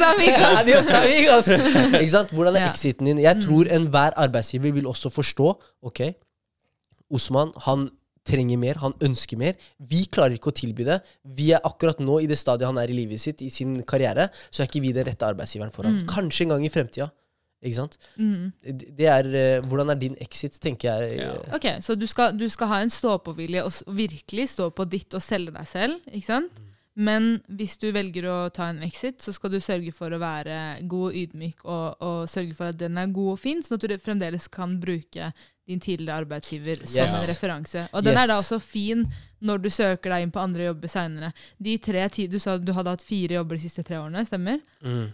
[SPEAKER 3] amigos!
[SPEAKER 1] Adios, amigos! Ikke sant? Hvordan er
[SPEAKER 3] Ja.
[SPEAKER 1] exiten din? Jeg tror enhver arbeidsgiver vil også forstå Ok, Osman, han trenger mer, han ønsker mer. Vi klarer ikke å tilby det. Vi er akkurat nå i det stadiet han er i livet sitt, i sin karriere, så er ikke vi den rette arbeidsgiveren for ham. Kanskje en gang i fremtida. Ikke sant?
[SPEAKER 3] Mm.
[SPEAKER 1] Det det er, eh, hvordan er din exit, tenker jeg.
[SPEAKER 2] Ja.
[SPEAKER 1] eh,
[SPEAKER 3] Ok, Så du skal, du skal ha en stå-på-vilje og s- virkelig stå på ditt og selge deg selv. ikke sant?
[SPEAKER 1] Mm.
[SPEAKER 3] Men hvis du velger å ta en exit, så skal du sørge for å være god og ydmyk og, og sørge for at den er god og fin, sånn at du fremdeles kan bruke din tidligere arbeidsgiver som
[SPEAKER 1] Yes.
[SPEAKER 3] en referanse. Og den
[SPEAKER 1] Yes.
[SPEAKER 3] er da også fin når du søker deg inn på andre jobber seinere. De tre ti- du sa du hadde hatt fire jobber de siste tre årene, stemmer?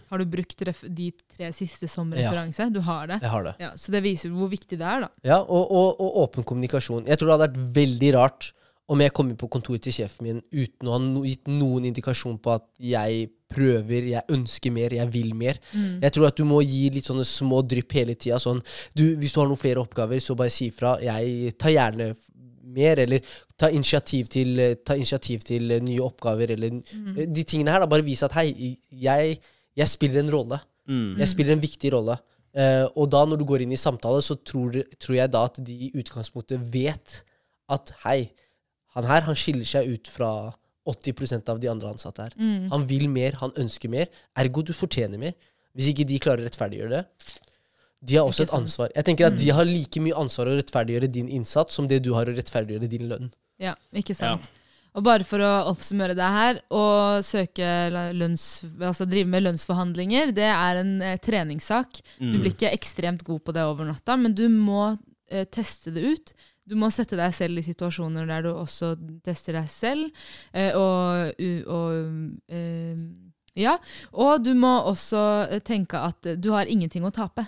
[SPEAKER 3] Har du brukt ref de tre siste som
[SPEAKER 1] Mm. Ja.
[SPEAKER 3] referanse? Du har det.
[SPEAKER 1] Jeg har det.
[SPEAKER 3] Ja, så det viser hvor viktig det er, da.
[SPEAKER 1] Ja, og, og, og åpen kommunikasjon. Jeg tror det hadde vært veldig rart om jeg kom inn på kontoret til sjefen min uten å ha no gitt noen indikasjon på at jeg prøver, jeg ønsker mer, jeg vil mer. Jeg tror at du må gi litt sånne små drypp hele tida. Sånn, du, hvis du har noen flere oppgaver, så bare si ifra. Jeg tar gjerne f- mer, eller ta initiativ til, eh, ta initiativ til eh, nye oppgaver, eller eh, de tingene her. Da, bare vise at hei, jeg, jeg spiller en rolle.
[SPEAKER 2] Mm,
[SPEAKER 1] Jeg spiller en viktig rolle. Eh, og da når du går inn i samtale, så tror, tror jeg da at de i utgangspunktet vet at hei, han her han skiller seg ut fra 80 av de andre ansatte her. Han vil mer, han ønsker mer. Ergo du fortjener mer. Hvis ikke de klarer å rettferdiggjøre det De har også
[SPEAKER 3] Ikke
[SPEAKER 1] et ansvar. Jeg tenker at De har like mye ansvar å rettferdiggjøre din innsats som det du har å rettferdiggjøre din lønn.
[SPEAKER 3] Ja, ikke sant. Og bare for å oppsummere det her, å søke la- lønns, altså drive med lønnsforhandlinger, det er en eh, treningssak.
[SPEAKER 1] Mm.
[SPEAKER 2] mm.
[SPEAKER 3] Du blir ikke ekstremt god på det over natta, men du må eh, teste det ut. Du må sette deg selv i situasjoner der du også tester deg selv. Eh, og u- og eh, ja. Og du må også eh, tenke at eh, du har ingenting å tape.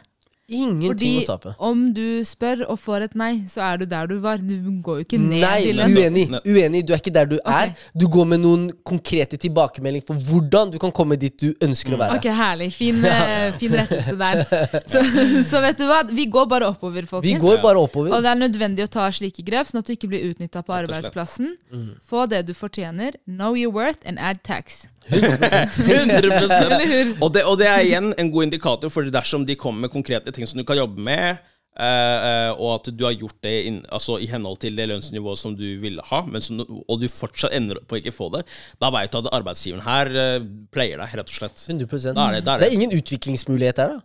[SPEAKER 1] Ingenting å tape.
[SPEAKER 3] om du spør og får et nei, så er du der du var. Du går jo ikke ned
[SPEAKER 1] Nei,
[SPEAKER 3] i lønn.
[SPEAKER 1] uenig.
[SPEAKER 2] Nei.
[SPEAKER 1] uenig. Du er ikke der du er. Du går med noen konkrete tilbakemelding for hvordan du kan komme dit du ønsker å være.
[SPEAKER 3] Mm. Ok, herlig. Fin, eh, fin rettelse der. Så, så vet du hva, vi går bare oppover,
[SPEAKER 1] Vi
[SPEAKER 3] folkens.
[SPEAKER 1] går bare
[SPEAKER 3] Og
[SPEAKER 1] oppover.
[SPEAKER 3] det er nødvendig å ta slike grep, sånn at du ikke blir utnytta på
[SPEAKER 2] og slett.
[SPEAKER 3] arbeidsplassen.
[SPEAKER 1] Mm.
[SPEAKER 3] Få det du fortjener. Know your worth and add tax.
[SPEAKER 2] 100
[SPEAKER 3] Eller hur?
[SPEAKER 2] og det, og det er igjen en god indikator, for dersom de kommer med konkrete ting som du kan jobbe med, eh, eh, og at du har gjort det inn, altså, i henhold til det lønnsnivået som du ville ha, men som, du- og du fortsatt ender opp på å ikke få det, da veit du at arbeidsgiveren her eh, pleier deg, rett og slett.
[SPEAKER 1] 100
[SPEAKER 2] Da er det- da er det.
[SPEAKER 1] er ingen utviklingsmulighet her, da.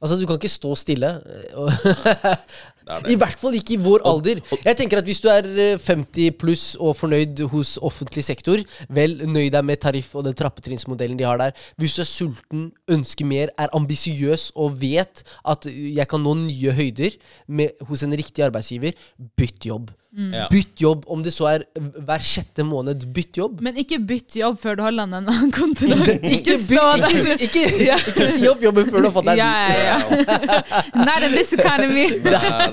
[SPEAKER 1] Altså, Du kan ikke stå stille. eh, og-
[SPEAKER 2] er det.
[SPEAKER 1] I hvert fall ikke i vår alder. Jeg tenker at Hvis du er eh, 50 pluss og fornøyd hos offentlig sektor, vel, nøy deg med tariff og den trappetrinnsmodellen de har der. Hvis du er sulten, ønsker mer, er ambisiøs og vet at eh, jeg kan nå nye høyder med, hos en riktig arbeidsgiver, bytt jobb.
[SPEAKER 2] Ja.
[SPEAKER 1] Bytt jobb, om det så er hver sjette måned. Bytt jobb.
[SPEAKER 3] Men ikke bytt jobb før du har landa en annen kontrakt.
[SPEAKER 1] Ikke, by,
[SPEAKER 3] stå
[SPEAKER 1] ikke,
[SPEAKER 3] der.
[SPEAKER 1] ikke,
[SPEAKER 3] Ja.
[SPEAKER 1] ikke si opp jobben før du har fått
[SPEAKER 3] Ja,
[SPEAKER 1] deg en ny.
[SPEAKER 3] ja, ja. Not in this economy.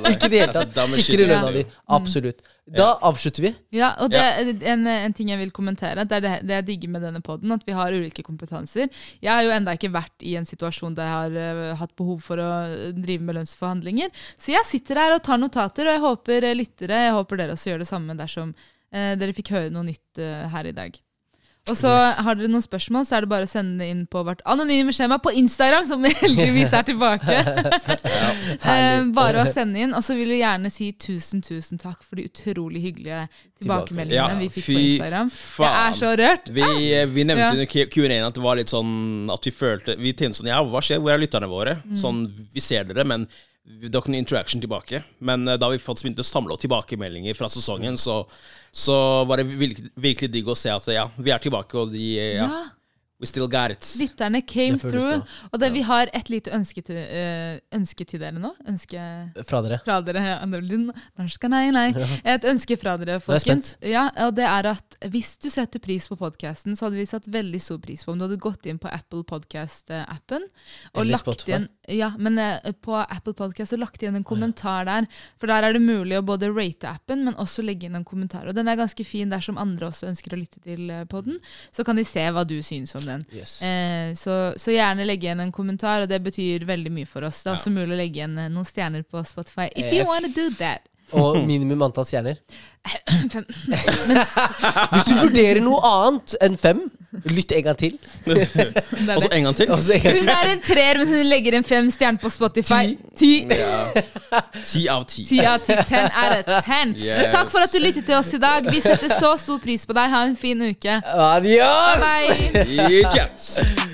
[SPEAKER 1] Ikke i det hele
[SPEAKER 2] Altså,
[SPEAKER 1] tatt. Sikre lønna
[SPEAKER 3] Mm.
[SPEAKER 1] di. Absolutt. Da avslutter vi.
[SPEAKER 3] Ja, og det, en, en ting jeg vil kommentere, det er det, det jeg digger med denne podden, at vi har ulike kompetanser. Jeg har jo enda ikke vært i en situasjon der jeg har eh, hatt behov for å eh, drive med lønnsforhandlinger, så jeg sitter her og tar notater, og jeg håper eh, lyttere, jeg håper dere også gjør det samme dersom eh, dere fikk høre noe nytt eh, her i dag. Og så Har dere noen spørsmål, så er det bare å sende det inn på vårt anonyme skjema på Instagram, som heldigvis er tilbake. Eh,
[SPEAKER 1] Herlig.
[SPEAKER 3] bare å sende inn. Og så vil jeg gjerne si tusen tusen takk for de utrolig hyggelige tilbakemeldingene
[SPEAKER 2] Ja,
[SPEAKER 3] vi fikk
[SPEAKER 2] fy
[SPEAKER 3] på Instagram. Jeg
[SPEAKER 2] faen.
[SPEAKER 3] er så rørt.
[SPEAKER 2] Vi, eh, vi nevnte
[SPEAKER 3] Ah. Ja.
[SPEAKER 2] under Q- Q&A-en at det var litt sånn at vi følte Vi tenkte sånn Ja, hva skjer? Hvor er lytterne våre?
[SPEAKER 3] Mm.
[SPEAKER 2] Sånn, Vi ser dere, men vi- det var ikke noe interaction tilbake. Men eh, da vi faktisk begynte å samle opp tilbakemeldinger fra sesongen, så, så var det virkelig, virkelig digg å se at ja, vi er tilbake, og de eh, ja,
[SPEAKER 3] Ja,
[SPEAKER 2] We still got it.
[SPEAKER 3] lytterne came
[SPEAKER 1] Det føles
[SPEAKER 3] through.
[SPEAKER 1] bra.
[SPEAKER 3] Og det, vi har et lite ønske til, eh, ønske til dere nå. Ønske
[SPEAKER 1] Eh, Fra dere.
[SPEAKER 3] fra dere. ja, det blir n- norsk, nei, nei. Et ønske fra dere,
[SPEAKER 1] er jeg
[SPEAKER 3] folkens. Ja, og det er at Hvis du setter pris på podkasten, så hadde vi satt veldig stor pris på om du hadde gått inn på Apple Podcast-appen og
[SPEAKER 1] Eller
[SPEAKER 3] lagt
[SPEAKER 1] Spotify.
[SPEAKER 3] igjen Ja, men eh, på Apple Podcast så lagt igjen en kommentar der. For der er det mulig å både rate appen, men også legge inn en kommentar. Og den er ganske fin dersom andre også ønsker å lytte til eh, podden. Så kan de se hva du syns om den.
[SPEAKER 1] Yes.
[SPEAKER 3] Eh, så, så gjerne legge igjen en kommentar, og det betyr veldig mye for oss. Det er også mulig å legge igjen eh, noen stjerner på Spotify. If you
[SPEAKER 1] Eh,
[SPEAKER 3] wanna do that.
[SPEAKER 1] Og minimum antall stjerner.
[SPEAKER 3] Fem.
[SPEAKER 1] Hvis du vurderer noe annet enn fem, lytt en gang til.
[SPEAKER 3] Det er
[SPEAKER 2] Og så
[SPEAKER 3] det.
[SPEAKER 2] en gang til.
[SPEAKER 1] Og så en gang til.
[SPEAKER 3] Hun er en treer, men hun legger en fem stjerner på Spotify. Ti.
[SPEAKER 2] Ti av ti.
[SPEAKER 3] Ti av ti. Ten er det ten.
[SPEAKER 2] Yes.
[SPEAKER 3] Takk for at du lyttet til oss i dag. Vi setter så stor pris på deg. Ha en fin uke.
[SPEAKER 1] Adios!
[SPEAKER 3] Bye.
[SPEAKER 2] Yes.